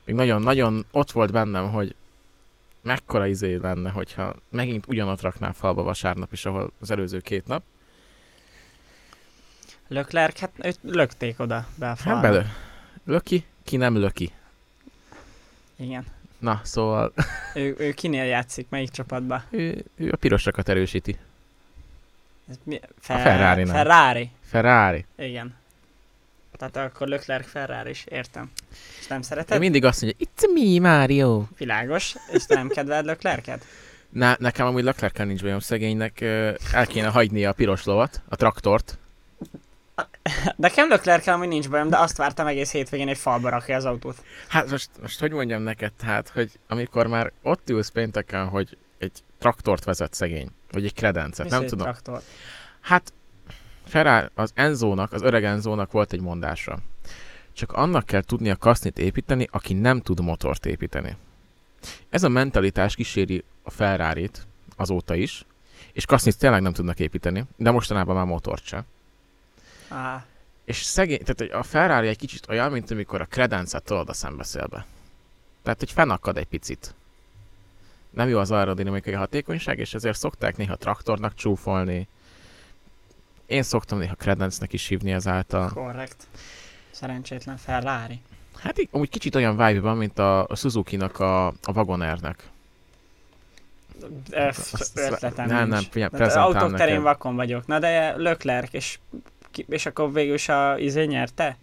[SPEAKER 3] Még nagyon-nagyon ott volt bennem, hogy mekkora izé lenne, hogyha megint ugyanott raknám falba vasárnap is, ahol az előző két nap.
[SPEAKER 2] Leclerc, hát őt lökték oda be a
[SPEAKER 3] Hát
[SPEAKER 2] falba.
[SPEAKER 3] belő. Löki, ki nem löki.
[SPEAKER 2] Igen.
[SPEAKER 3] Na, szóval [laughs]
[SPEAKER 2] Ő, ő kinél játszik, melyik csapatba?
[SPEAKER 3] ő, ő a pirosakat erősíti.
[SPEAKER 2] Ez mi? Fer-
[SPEAKER 3] Ferrari-nál.
[SPEAKER 2] Ferrari.
[SPEAKER 3] Ferrari.
[SPEAKER 2] Igen. Tehát akkor Leclerc Ferrari is, értem. És nem
[SPEAKER 3] Te
[SPEAKER 2] szereted?
[SPEAKER 3] mindig azt mondja, it's me, Mario.
[SPEAKER 2] Világos, és te nem kedveled Leclerc-et?
[SPEAKER 3] Na, nekem amúgy leclerc nincs olyan szegénynek, ö, el kéne hagynia a piros lovat, a traktort.
[SPEAKER 2] Nekem leclerc amúgy nincs bajom, de azt vártam egész hétvégén, hogy falba rakja az autót.
[SPEAKER 3] Hát most, most hogy mondjam neked, tehát, hogy amikor már ott ülsz pénteken, hogy egy traktort vezet szegény, vagy egy kredencet,
[SPEAKER 2] Mi
[SPEAKER 3] nem
[SPEAKER 2] szép
[SPEAKER 3] tudom.
[SPEAKER 2] Traktor.
[SPEAKER 3] Hát, Ferrari, az Enzónak, az öreg Enzónak volt egy mondása. Csak annak kell tudnia kasznit építeni, aki nem tud motort építeni. Ez a mentalitás kíséri a ferrari azóta is, és kasznit tényleg nem tudnak építeni, de mostanában már motort sem.
[SPEAKER 2] Á,
[SPEAKER 3] És szegény, tehát hogy a Ferrari egy kicsit olyan, mint amikor a kredencet tolod a szembeszélbe. Tehát, hogy fennakad egy picit. Nem jó az aerodinamikai hatékonyság, és ezért szokták néha traktornak csúfolni. Én szoktam néha kredencnek is hívni ezáltal.
[SPEAKER 2] korrekt. Szerencsétlen Ferrari.
[SPEAKER 3] Hát így, amúgy kicsit olyan vibe van, mint a, a Suzuki-nak a, a Wagonernek. Hát
[SPEAKER 2] Ö,
[SPEAKER 3] Azt-
[SPEAKER 2] Ötletem
[SPEAKER 3] nem, nem,
[SPEAKER 2] nincs.
[SPEAKER 3] figyelj,
[SPEAKER 2] Tehát
[SPEAKER 3] prezentál
[SPEAKER 2] Hát Autók terén
[SPEAKER 3] nekem.
[SPEAKER 2] vakon vagyok. Na de Leclerc, és, ki- és akkor végül is a izé nyerte?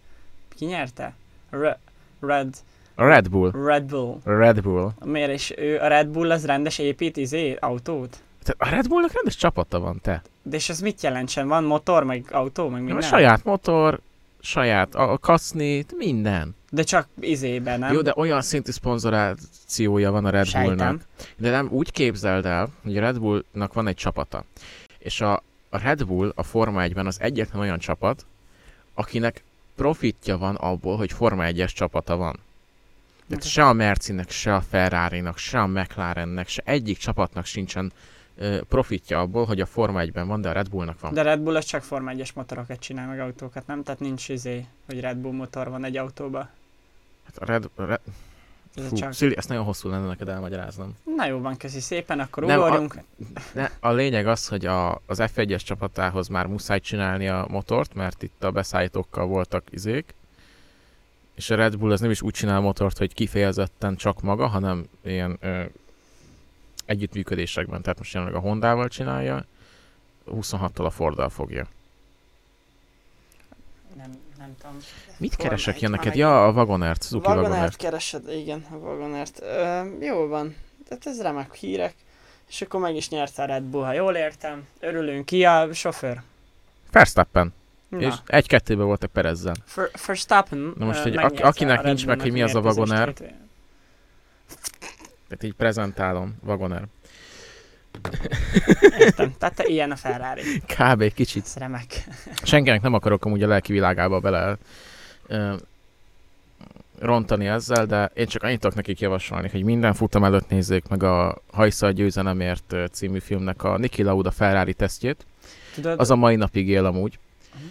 [SPEAKER 2] Ki nyerte? Re- Red,
[SPEAKER 3] A Red Bull.
[SPEAKER 2] Red Bull.
[SPEAKER 3] Red Bull.
[SPEAKER 2] Miért is ő, a Red Bull az rendes épít izé autót?
[SPEAKER 3] Tehát a Red Bullnak rendes csapata van, te.
[SPEAKER 2] De és ez mit jelentsen? Van motor, meg autó, meg
[SPEAKER 3] Minden.
[SPEAKER 2] minden?
[SPEAKER 3] Saját motor, saját a, a kasznit, minden.
[SPEAKER 2] De csak izében, nem?
[SPEAKER 3] Nem? Jó, de olyan szintű szponzorációja van a Red
[SPEAKER 2] Sejtem.
[SPEAKER 3] Bullnak. De nem úgy képzeld el, hogy a Red Bullnak van egy csapata. És a, a Red Bull a Forma 1-ben az egyetlen olyan csapat, akinek profitja van abból, hogy Forma 1-es csapata van. Tehát
[SPEAKER 2] Mhm.
[SPEAKER 3] se a Mercinek, se a Ferrari-nak, se a McLarennek, se egyik csapatnak sincsen ö, profitja abból, hogy a Forma 1-ben van, de a Red Bullnak van.
[SPEAKER 2] De Red Bull az csak Forma 1-es motorokat csinál, meg autókat, nem? Tehát nincs izé, hogy Red Bull motor van egy autóba.
[SPEAKER 3] Hát a Red, a Red...
[SPEAKER 2] Ez
[SPEAKER 3] Fú,
[SPEAKER 2] csak...
[SPEAKER 3] Szili, ezt nagyon hosszú lenne neked elmagyaráznom.
[SPEAKER 2] Na jó van, köszi szépen, akkor
[SPEAKER 3] Nem, a-
[SPEAKER 2] ugorjunk.
[SPEAKER 3] De a lényeg az, hogy a, az F1-es csapatához már muszáj csinálni a motort, mert itt a beszállítókkal voltak izék, és a Red Bull az nem is úgy csinál motort, hogy kifejezetten csak maga, hanem ilyen ö, együttműködésekben, tehát most jelenleg a Honda-val csinálja, 26-tal a Forddal fogja.
[SPEAKER 2] Nem, nem tudom.
[SPEAKER 3] Mit
[SPEAKER 2] Forma
[SPEAKER 3] keresek
[SPEAKER 2] egy
[SPEAKER 3] ilyen neked?
[SPEAKER 2] van
[SPEAKER 3] Ja, a Wagonert, Suzuki
[SPEAKER 2] Vagonert
[SPEAKER 3] Wagonert.
[SPEAKER 2] keresed, igen, a Vagonert. Ö, jó van, tehát ez remek hírek. És akkor meg is nyerte a Red Bull, ha jól értem. Örülünk ki a sofőr.
[SPEAKER 3] Verstappen.
[SPEAKER 2] Na,
[SPEAKER 3] És
[SPEAKER 2] és
[SPEAKER 3] egy-kettőben voltak Perezzel.
[SPEAKER 2] for, Verstappen
[SPEAKER 3] Na most,
[SPEAKER 2] ö,
[SPEAKER 3] hogy
[SPEAKER 2] megnyerte
[SPEAKER 3] aki- akinek
[SPEAKER 2] a Red
[SPEAKER 3] nincs meg,
[SPEAKER 2] Bullnak
[SPEAKER 3] hogy mi az a
[SPEAKER 2] mérkőzést
[SPEAKER 3] Wagonair.
[SPEAKER 2] hétvégén.
[SPEAKER 3] Tehát így prezentálom, Wagoner.
[SPEAKER 2] Értem, tehát te ilyen a Ferrari.
[SPEAKER 3] [laughs] Kb. egy kicsit.
[SPEAKER 2] Ez remek.
[SPEAKER 3] Senkinek nem akarok amúgy a lelki világába bele ö, rontani ezzel, de én csak annyit tudok nekik javasolni, hogy minden futam előtt nézzék meg a Hajszal győzelemért ö, című filmnek a Niki Lauda Ferrari tesztjét.
[SPEAKER 2] Tudod,
[SPEAKER 3] Az a mai napig él amúgy.
[SPEAKER 2] Mhm.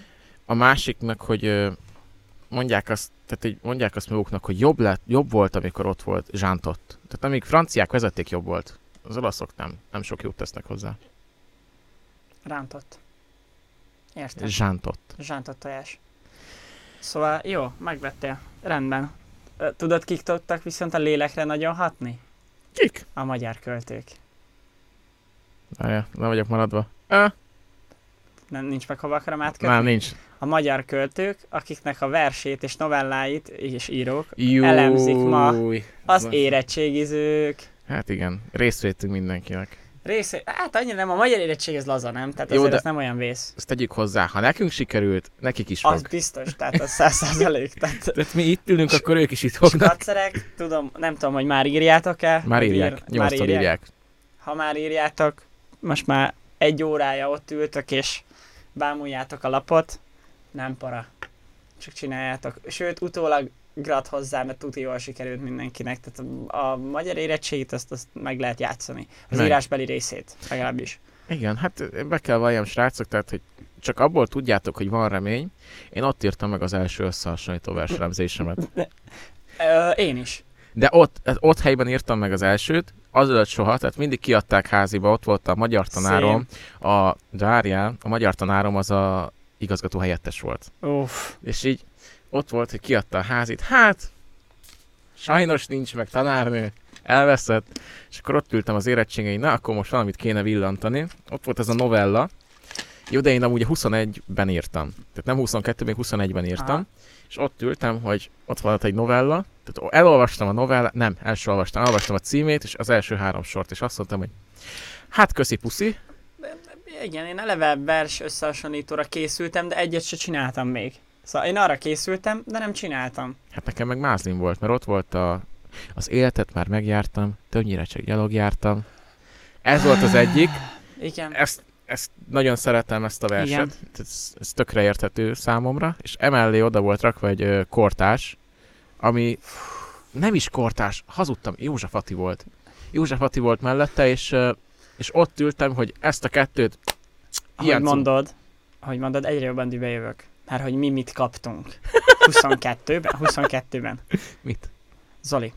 [SPEAKER 3] A másik meg, hogy ö, mondják azt, tehát így mondják azt maguknak, hogy jobb, lett, jobb volt, amikor ott volt Zsántott. Tehát amíg franciák vezették, jobb volt. Az olaszok nem, nem sok jót tesznek hozzá.
[SPEAKER 2] rántott. Értem.
[SPEAKER 3] Zsántott.
[SPEAKER 2] Zsántott tojás. Szóval jó, megvettél. Rendben. Ö, Tudod, kik tudtak viszont a lélekre nagyon hatni?
[SPEAKER 3] Kik?
[SPEAKER 2] A magyar költők.
[SPEAKER 3] Várja, le vagyok maradva. Ö,
[SPEAKER 2] Nem, nincs meg hova akarom átkötni?
[SPEAKER 3] nem, nincs.
[SPEAKER 2] A magyar költők, akiknek a versét és novelláit és írók,
[SPEAKER 3] Júj.
[SPEAKER 2] Elemzik ma. az
[SPEAKER 3] Na.
[SPEAKER 2] érettségizők.
[SPEAKER 3] Hát igen, részt vettünk mindenkinek.
[SPEAKER 2] Része, hát annyira nem, a magyar érettség ez laza, nem? Tehát
[SPEAKER 3] Jó,
[SPEAKER 2] azért
[SPEAKER 3] de-
[SPEAKER 2] ez nem olyan vész.
[SPEAKER 3] Ezt tegyük hozzá, ha nekünk sikerült, nekik is
[SPEAKER 2] Az
[SPEAKER 3] fog.
[SPEAKER 2] biztos, tehát az száz százalék. Tehát
[SPEAKER 3] Tehát mi itt ülünk, akkor ők is itt fognak.
[SPEAKER 2] Skacerek, tudom, nem tudom, hogy már írjátok-e.
[SPEAKER 3] Már
[SPEAKER 2] Ír-
[SPEAKER 3] írják, nyolctól írják.
[SPEAKER 2] ha már írjátok, most már egy órája ott ültök és bámuljátok a lapot, nem para. Csak csináljátok. Sőt, utólag grat hozzá, mert tuti jól sikerült mindenkinek. Tehát a, a magyar érettségit azt, azt meg lehet játszani. Az
[SPEAKER 3] Meg.
[SPEAKER 2] írásbeli részét legalábbis.
[SPEAKER 3] Igen, hát be kell valljam, srácok, tehát hogy csak abból tudjátok, hogy van remény. Én ott írtam meg az első összehasonlító verselemzésemet.
[SPEAKER 2] Ö, én is.
[SPEAKER 3] De ott, hát ott helyben írtam meg az elsőt, azelőtt soha, tehát mindig kiadták háziba, ott volt a magyar tanárom, a Dárján, a magyar tanárom az a igazgató helyettes volt.
[SPEAKER 2] Uff.
[SPEAKER 3] És így ott volt, hogy kiadta a házit, hát sajnos nincs meg tanárnő, elveszett, és akkor ott ültem az érettségei, na akkor most valamit kéne villantani. Ott volt ez a novella, jó, de én amúgy a 21-ben írtam. Tehát nem 22, még 21-ben írtam.
[SPEAKER 2] Aha.
[SPEAKER 3] És ott ültem, hogy ott volt egy novella, tehát elolvastam a novellát, nem, első olvastam, elolvastam a címét, és az első három sort, és azt mondtam, hogy hát köszi puszi,
[SPEAKER 2] Igen, én eleve vers összehasonlítóra készültem, de egyet se csináltam még. Szóval én arra készültem, de nem csináltam.
[SPEAKER 3] Hát nekem meg mázlim volt, mert ott volt a, az életet már megjártam, többnyire csak gyalog jártam. Ez volt az egyik.
[SPEAKER 2] Igen.
[SPEAKER 3] Ezt, ezt nagyon szeretem ezt a
[SPEAKER 2] Igen.
[SPEAKER 3] verset. Ez, ez tökre érthető számomra. És emellé oda volt rakva egy ö, kortás, ami nem is kortás, hazudtam, József Ati volt. József Ati volt mellette, és, ö, és ott ültem, hogy ezt a kettőt
[SPEAKER 2] Ahogy
[SPEAKER 3] Ilyen cum-
[SPEAKER 2] mondod, ahogy mondod, egyre jobban dühbe jövök. Mert hogy mi mit
[SPEAKER 3] [laughs]
[SPEAKER 2] kaptunk. 22-ben? 22-ben.
[SPEAKER 3] mit?
[SPEAKER 2] Zoli,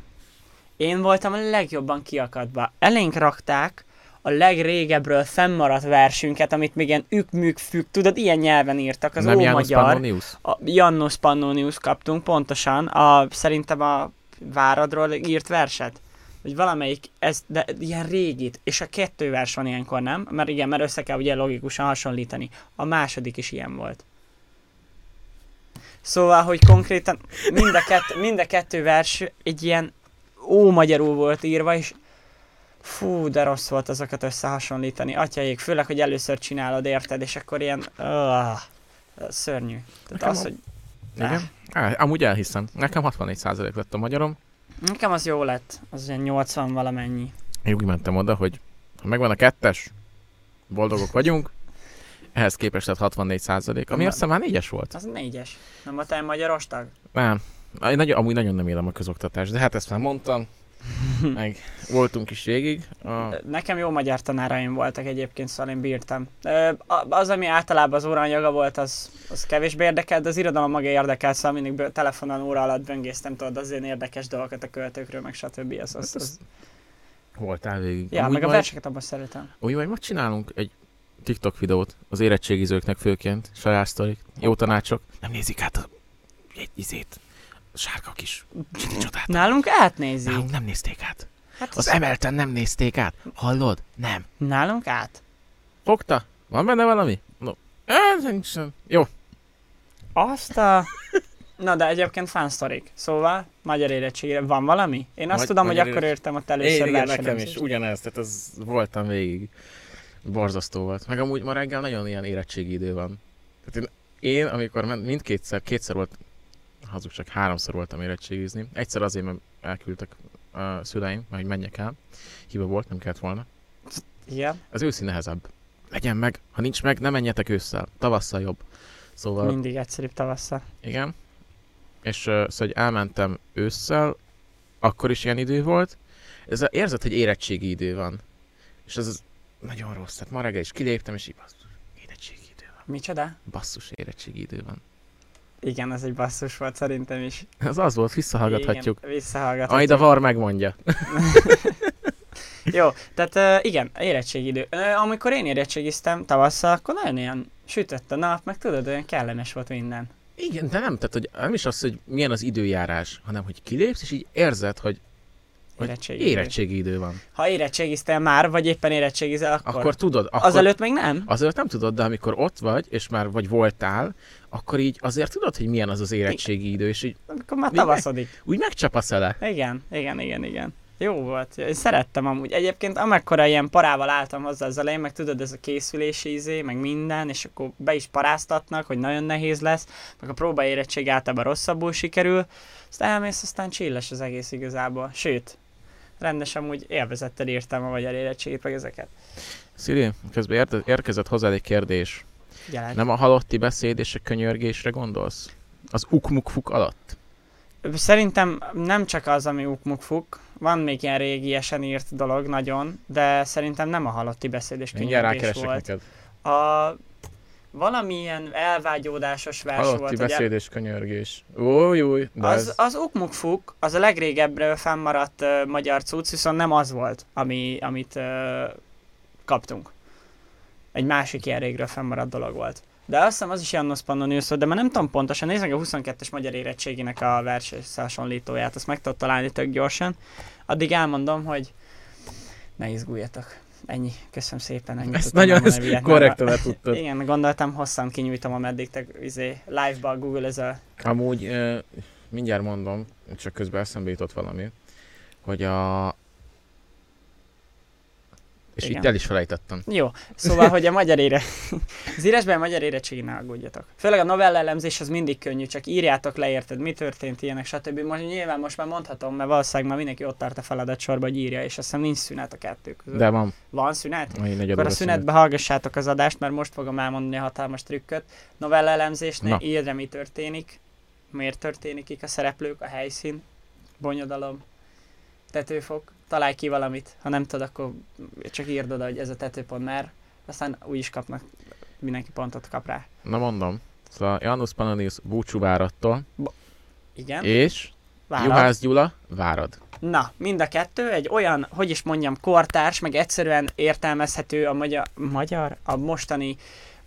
[SPEAKER 2] én voltam a legjobban kiakadva. Elénk rakták a legrégebbről fennmaradt versünket, amit még ilyen ükmük függ, tudod, ilyen nyelven írtak, az
[SPEAKER 3] nem János
[SPEAKER 2] ómagyar.
[SPEAKER 3] Pannonius?
[SPEAKER 2] A Jannos Pannonius kaptunk pontosan, a, szerintem a Váradról írt verset. Vagy valamelyik, ez, de ilyen régit, és a kettő vers van ilyenkor, nem? Mert igen, mert össze kell ugye logikusan hasonlítani. A második is ilyen volt. Szóval, hogy konkrétan mind a kettő, mind a kettő vers egy ilyen ómagyarul volt írva, és fú, de rossz volt azokat összehasonlítani. Atyaik, főleg, hogy először csinálod, érted, és akkor ilyen... Uh, szörnyű. Tehát
[SPEAKER 3] Nekem
[SPEAKER 2] az,
[SPEAKER 3] a-
[SPEAKER 2] hogy
[SPEAKER 3] Igen? Á, amúgy elhiszem. Nekem 64% lett a magyarom.
[SPEAKER 2] Nekem az jó lett, az ilyen 80 valamennyi.
[SPEAKER 3] Én úgy mentem oda, hogy ha megvan a kettes, boldogok vagyunk. Ehhez képest lett 64 százalék, ami
[SPEAKER 2] Nem.
[SPEAKER 3] azt hiszem már négyes volt.
[SPEAKER 2] Az négyes. Nem voltál magyarostag?
[SPEAKER 3] Nem. Én nagyon, amúgy nagyon nem élem a közoktatást, de hát ezt már [laughs] mondtam. Meg voltunk is végig. A...
[SPEAKER 2] Nekem jó magyar tanáraim voltak egyébként, szóval én bírtam. Ö, a- Az, ami általában az óraanyaga volt, az, az kevésbé érdekelt, de az irodalom maga érdekelt, szóval mindig bő- telefonon óra alatt böngésztem, tudod, az ilyen érdekes dolgokat a költőkről, meg stb. Az, az, az...
[SPEAKER 3] Hát az... Voltál végig.
[SPEAKER 2] Ja,
[SPEAKER 3] Amúgy
[SPEAKER 2] meg a
[SPEAKER 3] majd-
[SPEAKER 2] verseket abban szeretem.
[SPEAKER 3] Úgy majd most csinálunk egy TikTok videót az érettségizőknek főként, saját sztorik, jó tanácsok. Nem nézik át a egy izét. Sárga [laughs] kis csini csodát.
[SPEAKER 2] Nálunk átnézik.
[SPEAKER 3] Nálunk nem nézték át.
[SPEAKER 2] Hát
[SPEAKER 3] Az
[SPEAKER 2] az...
[SPEAKER 3] emelten nem nézték át. Hallod? Nem.
[SPEAKER 2] Nálunk át.
[SPEAKER 3] Fogta? Van benne valami? No. Hát, Á, nincsen. Jó.
[SPEAKER 2] Azt a... Na de egyébként fansztorik. Szóval, magyar érettségére van valami? Én azt
[SPEAKER 3] Magy-
[SPEAKER 2] tudom, hogy
[SPEAKER 3] magyar
[SPEAKER 2] akkor értem ott először
[SPEAKER 3] Én, igen, nekem is
[SPEAKER 2] versenyzést.
[SPEAKER 3] ugyanez, tehát ez voltam végig. Borzasztó volt. Meg amúgy ma reggel nagyon ilyen érettségi idő van. Tehát én, én amikor ment, mindkétszer, kétszer volt, hazug csak háromszor voltam érettségizni. Egyszer azért, mert elküldtek a szüleim, hogy menjek el. Hiba volt, nem kellett volna.
[SPEAKER 2] Igen,
[SPEAKER 3] Az őszi nehezebb. Legyen meg, ha nincs meg, ne menjetek ősszel. Tavasszal jobb. Szóval,
[SPEAKER 2] mindig egyszerűbb tavasszal.
[SPEAKER 3] igen. És uh, szóval, hogy elmentem ősszel, akkor is ilyen idő volt. Ez a, érzed, hogy érettségi idő van. És ez az nagyon rossz. Tehát ma reggel is kiléptem, és így basszus, érettségi idő van.
[SPEAKER 2] Micsoda?
[SPEAKER 3] Basszus, érettségi idő van.
[SPEAKER 2] Igen, ez egy basszus volt szerintem is.
[SPEAKER 3] Ez az volt, visszahallgathatjuk.
[SPEAKER 2] Igen, Hát, visszahallgathatjuk.
[SPEAKER 3] Majd a var megmondja.
[SPEAKER 2] Jó, tehát uh, igen, érettségidő. Uh, amikor én érettségiztem tavasszal, akkor nagyon ilyen sütött a nap, meg tudod, olyan kellemes volt minden.
[SPEAKER 3] Igen, de nem, tehát hogy nem is az, hogy milyen az időjárás, hanem hogy kilépsz, és így érzed, hogy Hogy
[SPEAKER 2] Érettségidő.
[SPEAKER 3] érettségi idő van.
[SPEAKER 2] Ha érettségiztél már, vagy éppen érettségizel, akkor...
[SPEAKER 3] Akkor, tudod, akkor...
[SPEAKER 2] Azelőtt még nem?
[SPEAKER 3] Azért nem tudod, de amikor ott vagy, és már vagy voltál, akkor így azért tudod, hogy milyen az az érettségi idő, és így
[SPEAKER 2] Akkor már
[SPEAKER 3] Még meg-
[SPEAKER 2] tavaszodik.
[SPEAKER 3] úgy megcsapasz ele.
[SPEAKER 2] Igen, igen, igen, igen. Jó volt. Én szerettem amúgy. Egyébként amekkora ilyen parával álltam hozzá az elején, meg tudod, ez a készülési izé, meg minden, és akkor be is paráztatnak, hogy nagyon nehéz lesz, meg a próbaérettség általában rosszabbul sikerül, aztán elmész, aztán csilles az egész igazából. Sőt, rendesen úgy élvezettel írtam a magyar érettségét, meg ezeket.
[SPEAKER 3] Szili, közben érte- érkezett hozzá egy kérdés.
[SPEAKER 2] Jelent.
[SPEAKER 3] Nem a halotti beszéd és a könyörgésre gondolsz? Az ukmukfuk alatt?
[SPEAKER 2] Szerintem nem csak az, ami ukmukfuk, van még ilyen régiesen írt dolog nagyon, de szerintem nem a halotti beszéd és
[SPEAKER 3] Mindjárt
[SPEAKER 2] könyörgés
[SPEAKER 3] rákeresek
[SPEAKER 2] volt.
[SPEAKER 3] neked.
[SPEAKER 2] A valamilyen elvágyódásos vers
[SPEAKER 3] Halotti
[SPEAKER 2] volt, ugye?
[SPEAKER 3] beszéd és könyörgés. Új, új, de az,
[SPEAKER 2] Az,
[SPEAKER 3] ez...
[SPEAKER 2] az ukmukfuk, az a legrégebbre fennmaradt uh, magyar cucc, viszont nem az volt, ami, amit uh, kaptunk. Egy másik ilyen régről fennmaradt dolog volt. De azt hiszem az is Jannos Pannonius volt, de már nem tudom pontosan, nézd meg a 22-es magyar érettségének a vers hasonlítóját, azt meg tudod találni tök gyorsan. Addig elmondom, hogy ne izguljatok. Ennyi, köszönöm szépen. Ennyi
[SPEAKER 3] Ezt nagyon [laughs] ezt korrektan le
[SPEAKER 2] [laughs]
[SPEAKER 3] tudtad.
[SPEAKER 2] Igen, gondoltam, hosszan kinyújtom, ameddig te izé, live-ba a Google ez a...
[SPEAKER 3] Amúgy ö, mindjárt mondom, csak közben eszembe jutott valami, hogy a... És
[SPEAKER 2] Igen.
[SPEAKER 3] itt el is felejtettem.
[SPEAKER 2] Jó, szóval, hogy a magyar ére... [laughs] az írásban a magyar érettségén ne aggódjatok. Főleg a novella elemzés az mindig könnyű, csak írjátok le, érted, mi történt, ilyenek, stb. Most nyilván most már mondhatom, mert valószínűleg már mindenki ott tart a feladatsorba, hogy írja, és azt hiszem nincs szünet a kettő között.
[SPEAKER 3] De van.
[SPEAKER 2] Van szünet?
[SPEAKER 3] Mai negyed
[SPEAKER 2] Akkor a
[SPEAKER 3] óra
[SPEAKER 2] szünetbe hallgassátok az adást, mert most fogom elmondani a hatalmas trükköt. Novellelemzés, ne
[SPEAKER 3] Na.
[SPEAKER 2] írja, mi történik, miért történik, kik a szereplők, a helyszín, bonyodalom, tetőfok, találj ki valamit, ha nem tudod, akkor csak írd oda, hogy ez a tetőpont már, aztán úgy is kapnak, mindenki pontot kap rá.
[SPEAKER 3] Na mondom. Szóval Janus Pannonius búcsú várattól,
[SPEAKER 2] Igen,
[SPEAKER 3] és
[SPEAKER 2] válasz.
[SPEAKER 3] Juhász Gyula várad.
[SPEAKER 2] Na, mind a kettő egy olyan, hogy is mondjam, kortárs, meg egyszerűen értelmezhető a magyar, magyar a mostani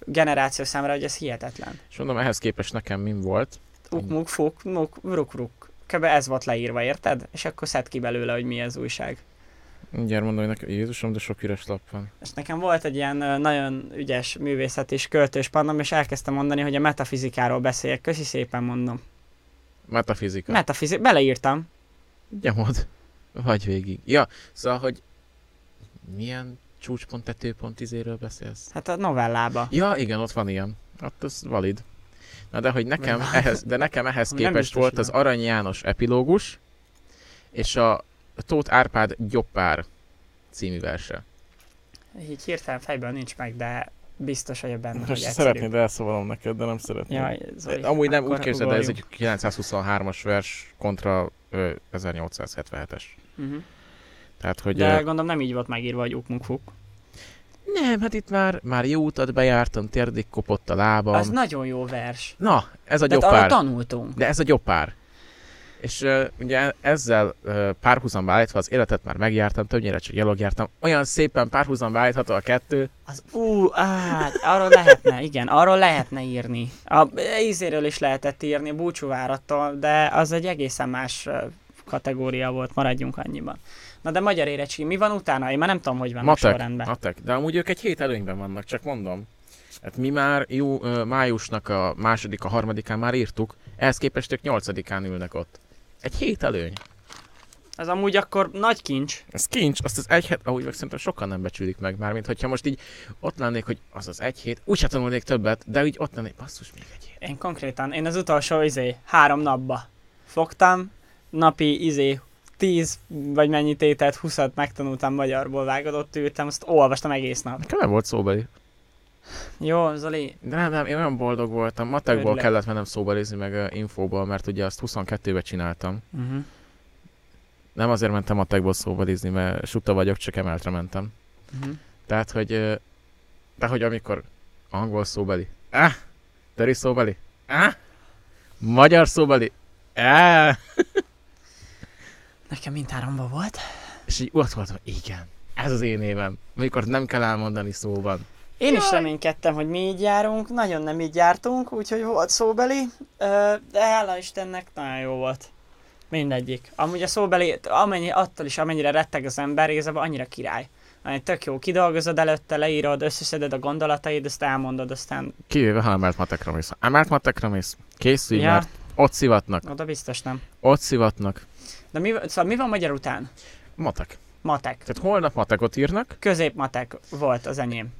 [SPEAKER 2] generáció számára, hogy ez hihetetlen.
[SPEAKER 3] És mondom, ehhez képest nekem min volt.
[SPEAKER 2] Uk, muk, fuk, nuk, ruk, ruk. Kb. ez volt leírva, érted? És akkor szed ki belőle, hogy mi az újság.
[SPEAKER 3] Mindjárt mondom, hogy nekem, Jézusom, de sok üres lap van.
[SPEAKER 2] És nekem volt egy ilyen ö, nagyon ügyes művészet és költős pannom, és elkezdtem mondani, hogy a metafizikáról beszéljek. Köszi szépen mondom.
[SPEAKER 3] Metafizika. Ne.
[SPEAKER 2] Metafizik, beleírtam.
[SPEAKER 3] Gyomod. Vagy végig. Ja, szóval, hogy milyen csúcspont, tetőpont izéről beszélsz?
[SPEAKER 2] Hát a novellába.
[SPEAKER 3] Ja, igen, ott van ilyen. Hát ez valid. Na de hogy nekem
[SPEAKER 2] Vagy-
[SPEAKER 3] ehhez, de nekem ehhez
[SPEAKER 2] Nem
[SPEAKER 3] képest
[SPEAKER 2] biztos,
[SPEAKER 3] volt
[SPEAKER 2] igen.
[SPEAKER 3] az Arany János epilógus, és a Tóth Árpád Gyoppár című verse.
[SPEAKER 2] Így hirtelen fejben nincs meg, de biztos vagyok benne, hogy egyszerű.
[SPEAKER 3] elszólalom neked, de nem szeretném.
[SPEAKER 2] Jaj, Zoli,
[SPEAKER 3] Amúgy nem, úgy
[SPEAKER 2] akkor
[SPEAKER 3] képzeld, el, ez
[SPEAKER 2] ugorjunk.
[SPEAKER 3] egy 923-as vers kontra ö, 1877-es.
[SPEAKER 2] Mhm.
[SPEAKER 3] Tehát, hogy...
[SPEAKER 2] De
[SPEAKER 3] ö,
[SPEAKER 2] gondolom nem így volt megírva, hogy uk, muk, fuk.
[SPEAKER 3] nem, hát itt már, már jó utat bejártam, térdig kopott a lábam.
[SPEAKER 2] Az nagyon jó vers.
[SPEAKER 3] Na, ez a
[SPEAKER 2] De arra
[SPEAKER 3] gyopár.
[SPEAKER 2] tanultunk.
[SPEAKER 3] De ez a gyopár. És uh, ugye ezzel uh, párhuzamba állítva az életet már megjártam, többnyire csak gyalog jártam. Olyan szépen párhuzamba állítható a kettő.
[SPEAKER 2] Az ú, á, arról lehetne, igen, arról lehetne írni. A e, ízéről is lehetett írni, búcsúvárattal, de az egy egészen más ö, kategória volt, maradjunk annyiban. Na de magyar érettség, mi van utána? Én már nem tudom, hogy van a
[SPEAKER 3] Matek,
[SPEAKER 2] sorrendben.
[SPEAKER 3] matek. De amúgy ők egy hét előnyben vannak, csak mondom. Hát mi már jó, ö, májusnak a második, a harmadikán már írtuk, ehhez képest ők nyolcadikán ülnek ott. Egy hét előny.
[SPEAKER 2] Ez amúgy akkor nagy kincs.
[SPEAKER 3] Ez kincs, azt az egy hét, ahogy meg szerintem sokan nem becsülik meg már, mint hogyha most így ott lennék, hogy az az egy hét, úgyse tanulnék többet, de úgy ott lennék, basszus, még egy hét.
[SPEAKER 2] Én konkrétan, én az utolsó izé, három napba fogtam, napi izé, tíz vagy mennyi tételt, huszat megtanultam magyarból vágadott, ültem, azt olvastam egész nap.
[SPEAKER 3] Nekem nem volt szóbeli.
[SPEAKER 2] Jó, Zoli,
[SPEAKER 3] De nem, nem, én olyan boldog voltam, matekból
[SPEAKER 2] Örülök.
[SPEAKER 3] kellett mennem szóbelizni, meg ö, infóból, mert ugye azt 22-be csináltam.
[SPEAKER 2] uh-huh.
[SPEAKER 3] Nem azért mentem matekból szóbelizni, mert suta vagyok, csak emeltre mentem.
[SPEAKER 2] Uh-huh.
[SPEAKER 3] Tehát, hogy... ö, De hogy amikor angol szóbeli. Ah! Töri szóbeli. Ah! Magyar szóbeli. Ah!
[SPEAKER 2] nekem mindháromba volt.
[SPEAKER 3] És így ott voltam, igen, ez az én évem. Amikor nem kell elmondani szóban.
[SPEAKER 2] Én is reménykedtem, hogy mi így járunk, nagyon nem így jártunk, úgyhogy volt szóbeli, ö, de hála Istennek nagyon jó volt. Mindegyik. Amúgy a szóbeli, amennyi, attól is amennyire retteg az ember, igazából annyira király. Amely tök jó, kidolgozod előtte, leírod, összeszeded a gondolataid, azt elmondod, aztán
[SPEAKER 3] Kivéve, ha emelt matekra mész. Ha Emelt matekra mész. Készülj,
[SPEAKER 2] Ja.
[SPEAKER 3] mert ott szivatnak.
[SPEAKER 2] oda biztos nem.
[SPEAKER 3] Ott szivatnak.
[SPEAKER 2] De mi, szóval mi van magyar után?
[SPEAKER 3] Matek.
[SPEAKER 2] Matek.
[SPEAKER 3] Tehát holnap matekot írnak.
[SPEAKER 2] Középmatek volt az enyém.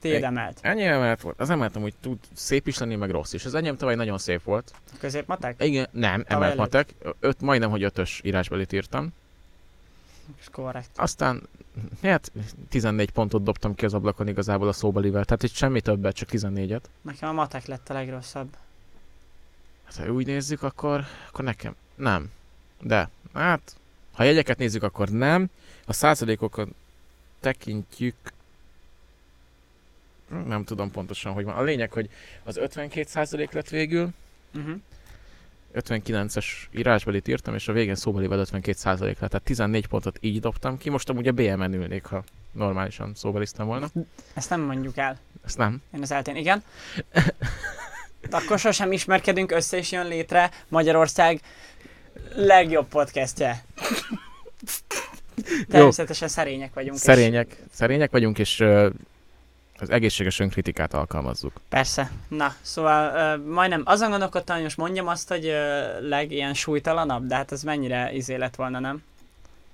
[SPEAKER 2] Tiéd
[SPEAKER 3] Egy-
[SPEAKER 2] emelt.
[SPEAKER 3] Ennyi emelt volt. Az emelt amúgy tud szép is lenni, meg rossz is. Az enyém tavaly nagyon szép volt.
[SPEAKER 2] Középmatek?
[SPEAKER 3] Igen, nem, emelt
[SPEAKER 2] előtt.
[SPEAKER 3] matek. Öt, majdnem, hogy ötös írásbelit írtam.
[SPEAKER 2] Ez Korrekt.
[SPEAKER 3] Aztán, hát 14 pontot dobtam ki az ablakon igazából a szóbelivel. Tehát itt semmi többet, csak 14-et.
[SPEAKER 2] Nekem a matek lett a legrosszabb.
[SPEAKER 3] Hát ha úgy nézzük, akkor, akkor nekem nem. De, hát, ha jegyeket nézzük, akkor nem. Ha százalékokat tekintjük, Hm, nem tudom pontosan, hogy van. A lényeg, hogy az 52 százalék lett végül,
[SPEAKER 2] Uh-huh.
[SPEAKER 3] 59-es írásbelit írtam, és a végén szóbelivel 52 százalék lett, tehát 14 pontot így dobtam ki. Most amúgy a BM-en ülnék, ha normálisan szóbeliztem volna.
[SPEAKER 2] Ezt nem mondjuk el.
[SPEAKER 3] Ezt nem.
[SPEAKER 2] Én az eltén, igen. De Akkor sosem ismerkedünk össze, és jön létre Magyarország legjobb podcastje. Természetesen szerények vagyunk. és-
[SPEAKER 3] Szerények, szerények vagyunk, és ö, az egészséges önkritikát alkalmazzuk.
[SPEAKER 2] Persze. Na, szóval ö, majdnem azon gondolkodtam, hogy most mondjam azt, hogy ö, leg ilyen súlytalanabb, de hát ez mennyire izé lett volna, nem?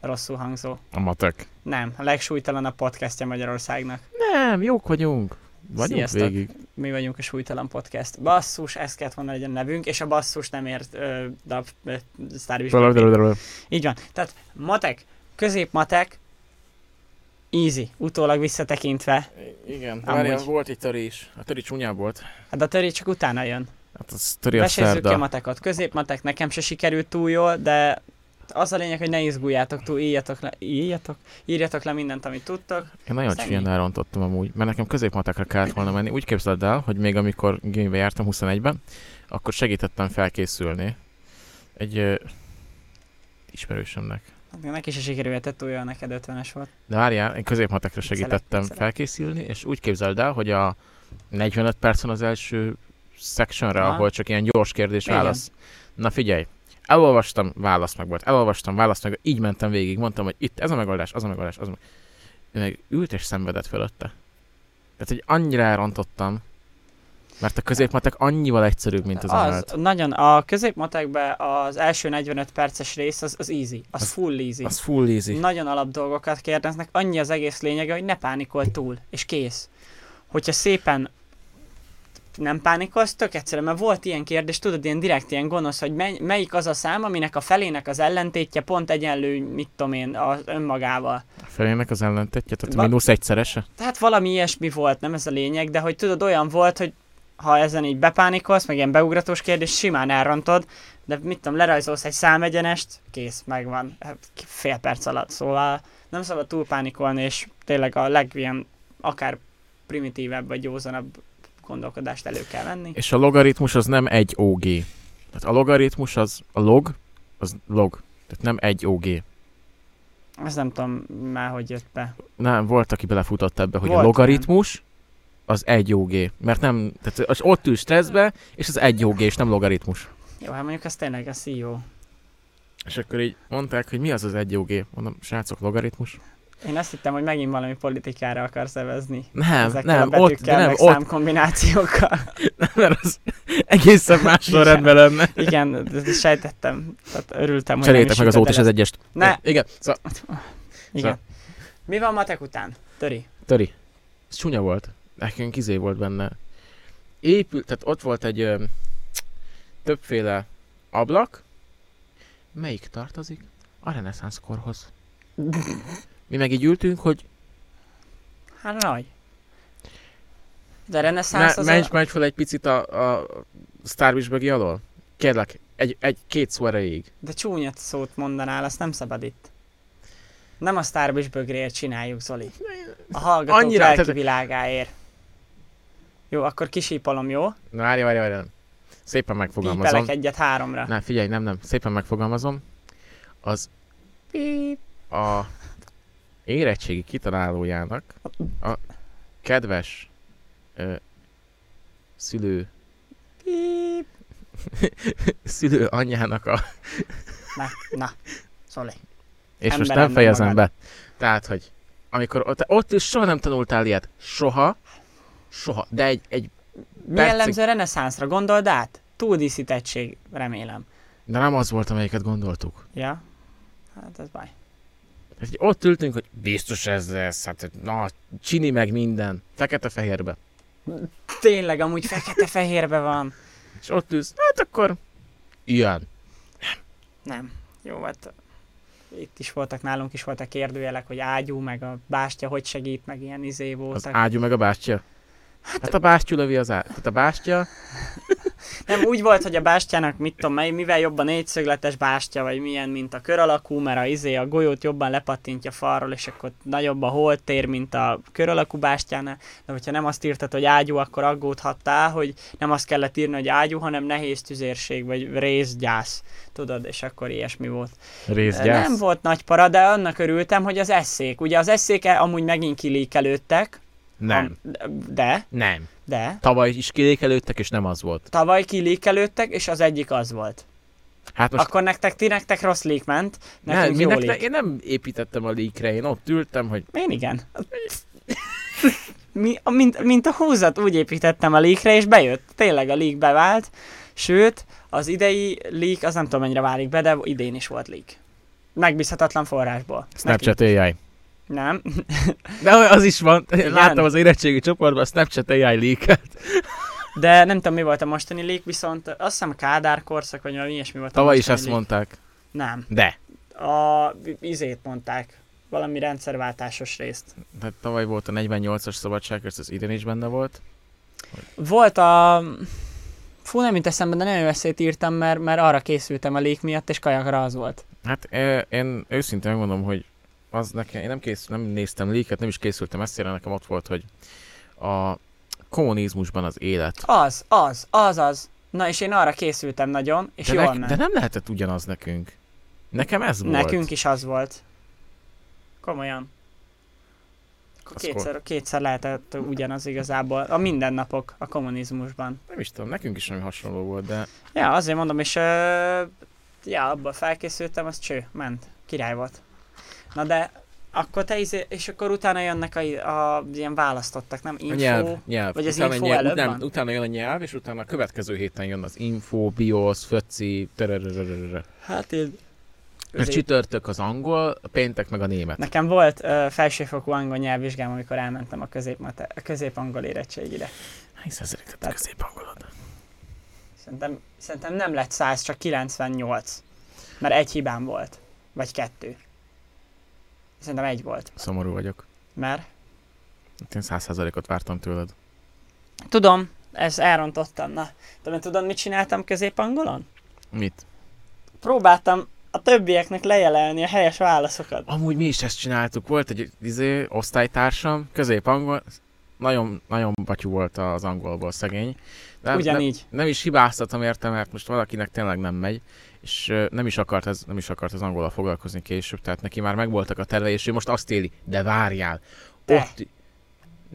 [SPEAKER 2] Rosszul hangzó.
[SPEAKER 3] A matek.
[SPEAKER 2] Nem, a legsúlytalanabb podcastja Magyarországnak.
[SPEAKER 3] Nem, jók vagyunk. Vagyunk
[SPEAKER 2] Sziasztok.
[SPEAKER 3] végig.
[SPEAKER 2] Mi vagyunk a Súlytalan Podcast. Basszus, ez kellett volna legyen nevünk, és a basszus nem ért ö, dab, ö, sztárvizsgálat. Így van. Tehát matek, középmatek, easy, utólag visszatekintve.
[SPEAKER 3] Igen,
[SPEAKER 2] várjál,
[SPEAKER 3] volt egy töri is. A töri csúnyább volt.
[SPEAKER 2] Hát a töré csak utána jön.
[SPEAKER 3] Hát az töri a
[SPEAKER 2] Mesézzük ki a
[SPEAKER 3] szerda.
[SPEAKER 2] matekot. Középmatek nekem se sikerült túl jól, de az a lényeg, hogy ne izguljátok túl, írjatok le, írjatok, írjatok le mindent, amit tudtok.
[SPEAKER 3] Én nagyon
[SPEAKER 2] Aztán
[SPEAKER 3] csúnyán
[SPEAKER 2] mi?
[SPEAKER 3] elrontottam amúgy, mert nekem középmatekra kellett volna menni. Úgy képzeld el, hogy még amikor gimibe jártam 21-ben, akkor segítettem felkészülni egy ö, ismerősömnek.
[SPEAKER 2] Hát Neki se sikerült túl jól, neked 50-es volt.
[SPEAKER 3] De várjál, én középmatekra
[SPEAKER 2] Viccelek,
[SPEAKER 3] segítettem
[SPEAKER 2] viccelek.
[SPEAKER 3] felkészülni, és úgy képzeld el, hogy a 45 percen az első sectionre,
[SPEAKER 2] Aha.
[SPEAKER 3] ahol csak ilyen gyors
[SPEAKER 2] Igen.
[SPEAKER 3] kérdés-válasz. Na figyelj, elolvastam, válasz meg volt, elolvastam, válasz meg, így mentem végig, mondtam, hogy itt ez a megoldás, az a megoldás, az a megoldás. Ő meg ült és szenvedett fölötte. Tehát, hogy annyira elrontottam, mert a középmatek annyival egyszerűbb, mint az,
[SPEAKER 2] az
[SPEAKER 3] emelt.
[SPEAKER 2] nagyon, a középmatekben az első 45 perces rész az, az easy, az,
[SPEAKER 3] Az-
[SPEAKER 2] full easy.
[SPEAKER 3] Az full easy.
[SPEAKER 2] Nagyon alap dolgokat kérdeznek, annyi az egész lényege, hogy ne pánikolj túl, és kész. Hogyha szépen nem pánikolsz, tök egyszerűen, mert volt ilyen kérdés, tudod, ilyen direkt ilyen gonosz, hogy mely, melyik az a szám, aminek a felének az ellentétje pont egyenlő, mit tudom én, az önmagával.
[SPEAKER 3] A felének az ellentétje, tehát
[SPEAKER 2] Ba-
[SPEAKER 3] mínusz egyszerese.
[SPEAKER 2] Tehát valami ilyesmi volt, nem ez a lényeg, de hogy tudod, olyan volt, hogy ha ezen így bepánikolsz, meg ilyen beugratós kérdés, simán elrontod, de mit tudom, lerajzolsz egy számegyenest, kész, megvan, Hát, fél perc alatt, szóval nem szabad túl pánikolni, és tényleg a legilyen, akár primitívebb vagy józanabb gondolkodást elő kell venni.
[SPEAKER 3] És a logaritmus az nem egy OG. Tehát a logaritmus az, a log, az log. Tehát nem egy OG.
[SPEAKER 2] Ezt nem tudom már, hogy jött be.
[SPEAKER 3] Nem, volt, aki belefutott ebbe, hogy
[SPEAKER 2] Volt
[SPEAKER 3] a
[SPEAKER 2] ilyen.
[SPEAKER 3] logaritmus az egy OG. Mert nem, tehát az ott ül stresszbe, és az egy OG, és nem logaritmus.
[SPEAKER 2] Jó, hát mondjuk ez tényleg, ez így jó.
[SPEAKER 3] És akkor így mondták, hogy mi az az egy OG? Mondom, srácok, logaritmus.
[SPEAKER 2] Én azt hittem, hogy megint valami politikára akarsz evezni.
[SPEAKER 3] Nem,
[SPEAKER 2] Ezekkel
[SPEAKER 3] nem,
[SPEAKER 2] a
[SPEAKER 3] ott,
[SPEAKER 2] betűkkel,
[SPEAKER 3] nem,
[SPEAKER 2] meg
[SPEAKER 3] ott,
[SPEAKER 2] számkombinációkkal.
[SPEAKER 3] [laughs] mert az egészen más sorrendben lenne.
[SPEAKER 2] Igen, ezt sejtettem. Tehát örültem, hogy
[SPEAKER 3] Cseréljétek
[SPEAKER 2] nem
[SPEAKER 3] meg
[SPEAKER 2] is
[SPEAKER 3] az ót és az
[SPEAKER 2] jutott
[SPEAKER 3] egyest.
[SPEAKER 2] el ezt.
[SPEAKER 3] Igen, szóval,
[SPEAKER 2] Ne, igen. Mi van matek után? Töri.
[SPEAKER 3] Töri, ez csúnya volt. Nekünk izé volt benne. Épül, tehát ott volt egy ö, többféle ablak. Melyik tartozik? A reneszánsz korhoz. Mi meg így ültünk, hogy
[SPEAKER 2] Hát nagy. De a reneszánsz
[SPEAKER 3] ne,
[SPEAKER 2] az
[SPEAKER 3] menj,
[SPEAKER 2] a...
[SPEAKER 3] menj fel egy picit a, a Starwish alól. Kérlek, egy, egy, két szó erejéig.
[SPEAKER 2] De csúnya szót mondanál, azt nem szabad itt. Nem a Starbis bögréért csináljuk, Zoli. A hallgatók
[SPEAKER 3] Annyira,
[SPEAKER 2] Annyira, lelki
[SPEAKER 3] tehát-
[SPEAKER 2] világáért. Jó, akkor kisípalom, jó?
[SPEAKER 3] Na, várj, várj, várj. Szépen megfogalmazom.
[SPEAKER 2] Pípelek egyet háromra.
[SPEAKER 3] Nem, figyelj, nem, nem. Szépen megfogalmazom. Az
[SPEAKER 2] Píp.
[SPEAKER 3] a érettségi kitalálójának a kedves ö, szülő,
[SPEAKER 2] Píp.
[SPEAKER 3] szülő anyjának a...
[SPEAKER 2] Na, na. Zoli.
[SPEAKER 3] És most
[SPEAKER 2] Emberem,
[SPEAKER 3] nem
[SPEAKER 2] nem
[SPEAKER 3] fejezem
[SPEAKER 2] magad.
[SPEAKER 3] be. Tehát, hogy amikor ott, ott is soha nem tanultál ilyet. Soha. Soha. De egy, egy
[SPEAKER 2] Mi
[SPEAKER 3] Percig.
[SPEAKER 2] jellemző a reneszánszra? Gondold át? Túldíszítettség, remélem.
[SPEAKER 3] De nem az volt, amelyiket gondoltuk.
[SPEAKER 2] Ja? Hát ez baj.
[SPEAKER 3] Tehát, hogy ott ültünk, hogy biztos ez lesz, hát na, csini meg minden. Fekete-fehérbe.
[SPEAKER 2] Tényleg, amúgy fekete-fehérbe van.
[SPEAKER 3] És ott ülsz, hát akkor ilyen.
[SPEAKER 2] Nem. Jó, hát itt is voltak, nálunk is voltak kérdőjelek, hogy ágyú, meg a bástya hogy segít, meg ilyen izé
[SPEAKER 3] Az
[SPEAKER 2] voltak.
[SPEAKER 3] ágyú meg a bástya. Hát a bástyú lövi az ágy. Hát a bástya,
[SPEAKER 2] Nem úgy volt, hogy a bástyának, mit tudom, mely, mivel jobban négyszögletes bástya, vagy milyen, mint a kör alakú, mert a izé a golyót jobban lepattintja falról, és akkor nagyobb a holtér, mint a kör alakú bástyánál. De hogyha nem azt írtad, hogy ágyú, akkor aggódhattál, hogy nem azt kellett írni, hogy ágyú, hanem nehéz tüzérség, vagy részgyász. Tudod, és akkor ilyesmi volt.
[SPEAKER 3] részgyász.
[SPEAKER 2] Nem volt nagy para, de annak örültem, hogy az eszék. Ugye az eszék amúgy megint kilíkelődtek.
[SPEAKER 3] Nem.
[SPEAKER 2] Am- De,
[SPEAKER 3] Nem.
[SPEAKER 2] de.
[SPEAKER 3] Tavaly is kilékelődtek, és nem az volt.
[SPEAKER 2] Tavaly kilíkelődtek, és az egyik az volt.
[SPEAKER 3] Hát most
[SPEAKER 2] Akkor nektek, ti nektek rossz lék ment, nekünk
[SPEAKER 3] nem,
[SPEAKER 2] jó
[SPEAKER 3] minek,
[SPEAKER 2] lék.
[SPEAKER 3] ne, én nem építettem a líkre, én ott ültem, hogy
[SPEAKER 2] Én igen. Mi, a- mint, mint a húzat úgy építettem a leakre, és bejött. Tényleg a leak bevált. Sőt, az idei leak, az nem tudom mennyire válik be, de idén is volt leak. Megbízhatatlan forrásból.
[SPEAKER 3] Snapchat AI.
[SPEAKER 2] Nekünk- Nem.
[SPEAKER 3] De az is van,
[SPEAKER 2] Igen.
[SPEAKER 3] láttam az érettségi csoportban a Snapchat AI leak
[SPEAKER 2] De nem tudom, mi volt a mostani leak, viszont azt hiszem Kádár korszak, vagy valami ilyesmi volt. a
[SPEAKER 3] Tavaly is
[SPEAKER 2] mostani
[SPEAKER 3] ezt
[SPEAKER 2] leak.
[SPEAKER 3] mondták.
[SPEAKER 2] Nem.
[SPEAKER 3] De.
[SPEAKER 2] A izét mondták. Valami rendszerváltásos részt.
[SPEAKER 3] Tehát tavaly volt a 48-as szabadságharc, az idén is benne volt.
[SPEAKER 2] Volt a... Fú, nem jut eszembe, de nagyon jó eszét írtam, mert, mert arra készültem a lék miatt, és kajakra az volt.
[SPEAKER 3] Hát ö, én őszintén megmondom, hogy az nekem, én nem, kész, nem néztem léket, nem is készültem eszére, nekem ott volt, hogy a kommunizmusban az élet.
[SPEAKER 2] Az, az, az, az. Na, és én arra készültem nagyon, és
[SPEAKER 3] De,
[SPEAKER 2] jól
[SPEAKER 3] nek-
[SPEAKER 2] ment.
[SPEAKER 3] de nem lehetett ugyanaz nekünk. Nekem ez volt.
[SPEAKER 2] Nekünk is az volt. Komolyan. Akkor
[SPEAKER 3] Az
[SPEAKER 2] kétszer, kétszer lehetett ugyanaz igazából. A mindennapok a kommunizmusban.
[SPEAKER 3] Nem is tudom, nekünk is valami hasonló volt, de
[SPEAKER 2] Ja, azért mondom, és ö, ja, abban felkészültem, az cső, ment. Király volt. Na de akkor te izé, és akkor utána jönnek a, a ilyen választottak, nem? Info.
[SPEAKER 3] a nyelv, nyelv.
[SPEAKER 2] Vagy az
[SPEAKER 3] utána,
[SPEAKER 2] info
[SPEAKER 3] nyelv
[SPEAKER 2] előbb
[SPEAKER 3] utána,
[SPEAKER 2] van?
[SPEAKER 3] utána jön a nyelv, és utána a következő héten jön az info, biosz, föci, törörörörörörö.
[SPEAKER 2] Hát én...
[SPEAKER 3] Mert csütörtök az angol, a péntek meg a német.
[SPEAKER 2] Nekem volt ö, felsőfokú angol nyelvvizsgám, amikor elmentem a, középmate, a középangol érettségire.
[SPEAKER 3] Hány százalékot a
[SPEAKER 2] Tehát-
[SPEAKER 3] középangolod?
[SPEAKER 2] Szerintem, szerintem nem lett 100, csak 98. Mert egy hibám volt. Vagy kettő. Szerintem egy volt.
[SPEAKER 3] Szomorú vagyok.
[SPEAKER 2] Mert
[SPEAKER 3] Hát Én száz százalékot vártam tőled.
[SPEAKER 2] tudom, ezt elrontottam. Na, de mert tudod, mit csináltam középangolon?
[SPEAKER 3] Mit?
[SPEAKER 2] Próbáltam a többieknek lejelelni a helyes válaszokat.
[SPEAKER 3] Amúgy mi is ezt csináltuk. Volt egy izé, osztálytársam, középangol, nagyon, nagyon batyú volt az angolból szegény. Nem, nem,
[SPEAKER 2] Ugyanígy.
[SPEAKER 3] nem is hibáztatom érte, mert most valakinek tényleg nem megy, és ö, nem is akart, ez, nem is akart az angolal foglalkozni később, tehát neki már megvoltak a tervei, és ő most azt éli, de várjál.
[SPEAKER 2] Te.
[SPEAKER 3] Ott,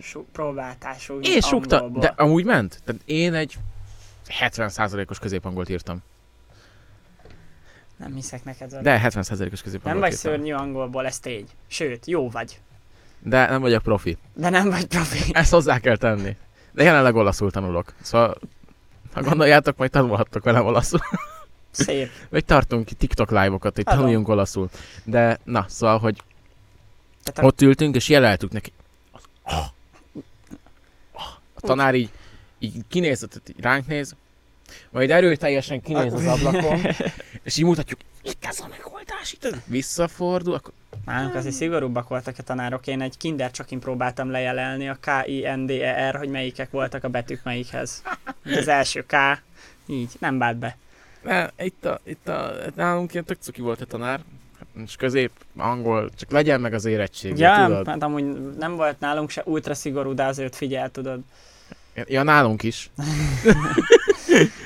[SPEAKER 2] Sú, próbáltál súgni
[SPEAKER 3] én sokta,
[SPEAKER 2] angolból.
[SPEAKER 3] de amúgy ment. Tehát én egy 70%-os középangolt írtam.
[SPEAKER 2] Nem hiszek neked, Zoli.
[SPEAKER 3] De 70%-os középen
[SPEAKER 2] nem
[SPEAKER 3] volt
[SPEAKER 2] vagy
[SPEAKER 3] képen.
[SPEAKER 2] szörnyű angolból, ez tény. Sőt, jó vagy.
[SPEAKER 3] De nem vagyok profi.
[SPEAKER 2] De nem vagy profi.
[SPEAKER 3] Ezt hozzá kell tenni. De jelenleg olaszul tanulok. Szóval ha gondoljátok, majd tanulhattok velem olaszul.
[SPEAKER 2] Szép.
[SPEAKER 3] Vagy tartunk ki TikTok live-okat, hogy
[SPEAKER 2] Hello.
[SPEAKER 3] tanuljunk olaszul. De na, szóval, hogy
[SPEAKER 2] Tehát a...
[SPEAKER 3] ott ültünk, és jeleltük neki. A tanár így, így kinézett, így ránk néz, majd erőteljesen kinéz az ablakon, és így mutatjuk, itt ez a megoldás, itt ez. Visszafordul, akkor
[SPEAKER 2] Nálunk azért szigorúbbak voltak a tanárok. Én egy kinder csakin próbáltam lejelelni a K-I-N-D-E-R, E hogy melyikek voltak a betűk melyikhez. Az első K, így, nem bánt be.
[SPEAKER 3] Ne, itt a, itt a, hát nálunk ilyen tök cuki volt a tanár, és közép, angol, csak legyen meg az érettség, ja,
[SPEAKER 2] Ja,
[SPEAKER 3] tudod?
[SPEAKER 2] hát amúgy nem volt nálunk se ultra szigorú, de azért figyel, tudod.
[SPEAKER 3] Ja, nálunk is.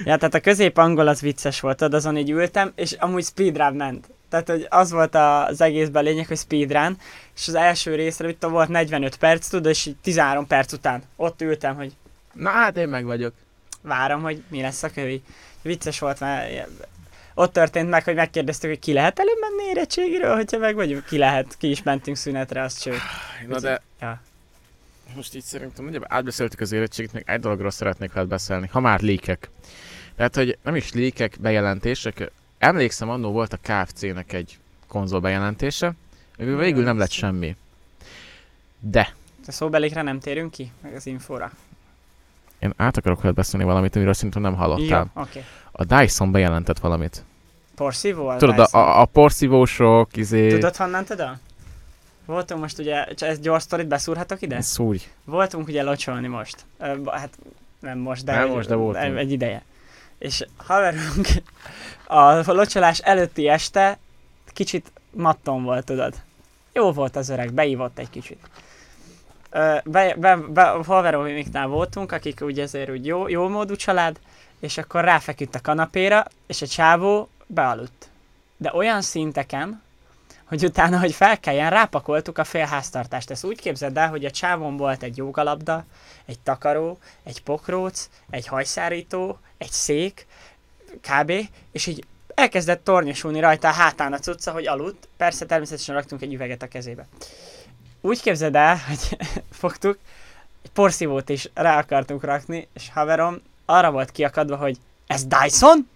[SPEAKER 2] Ja, tehát a közép-angol az vicces volt, tudod, azon így ültem, és amúgy speedrun ment. Tehát, hogy az volt a- az egészben a lényeg, hogy speedrun, és az első részre, itt volt 45 perc, tudod, és így 13 perc után ott ültem, hogy
[SPEAKER 3] Na hát én meg vagyok.
[SPEAKER 2] várom, hogy mi lesz a kövi. Vicces volt, mert ilyen- ott történt meg, hogy megkérdeztük, hogy ki lehet előbb menni érettségiről, hogyha meg vagyunk, ki lehet, ki is mentünk szünetre, az cső.
[SPEAKER 3] Na de
[SPEAKER 2] Ja.
[SPEAKER 3] most így szerintem nagyjából átbeszéltük az érettségét, még egy dologról szeretnék veled beszélni, ha már lékek. Tehát, hogy nem is lékek, bejelentések. Emlékszem, annó volt a KFC-nek egy konzol bejelentése, amiből végül nem lett semmi. De
[SPEAKER 2] A szóbelékre nem térünk ki, meg az infóra.
[SPEAKER 3] én át akarok veled beszélni valamit, amiről szerintem nem
[SPEAKER 2] Jó,
[SPEAKER 3] hallottál.
[SPEAKER 2] oké. Okay.
[SPEAKER 3] A Dyson bejelentett valamit.
[SPEAKER 2] Porszívó? az
[SPEAKER 3] Tudod,
[SPEAKER 2] Dyson?
[SPEAKER 3] a, a porszívósok, izé...
[SPEAKER 2] Tudod honnan tudod? Voltunk most ugye, csak ezt gyors sztorit beszúrhatok ide?
[SPEAKER 3] Szúrj.
[SPEAKER 2] Voltunk ugye locsolni most. Ö, ba- hát nem most, de,
[SPEAKER 3] Nem
[SPEAKER 2] egy-
[SPEAKER 3] most, de voltunk.
[SPEAKER 2] egy ideje. És haverunk a locsolás előtti este kicsit matton volt, tudod. Jó volt az öreg, beívott egy kicsit. Ö, Be, be, be, haveromiknál voltunk, akik úgy ezért úgy jó, jó módú család, és akkor ráfeküdt a kanapéra, és a csávó bealudt. De olyan szinteken, hogy utána, hogy felkeljen, rápakoltuk a fél háztartást. Ezt úgy képzeld el, hogy a csávon volt egy jogalabda, egy takaró, egy pokróc, egy hajszárító, egy szék, kb. És így elkezdett tornyosulni rajta a hátán a cucca, hogy aludt. Persze természetesen raktunk egy üveget a kezébe. Úgy képzeld el, hogy [laughs] fogtuk, egy porszívót is rá akartunk rakni, és haverom arra volt kiakadva, hogy ez Dyson?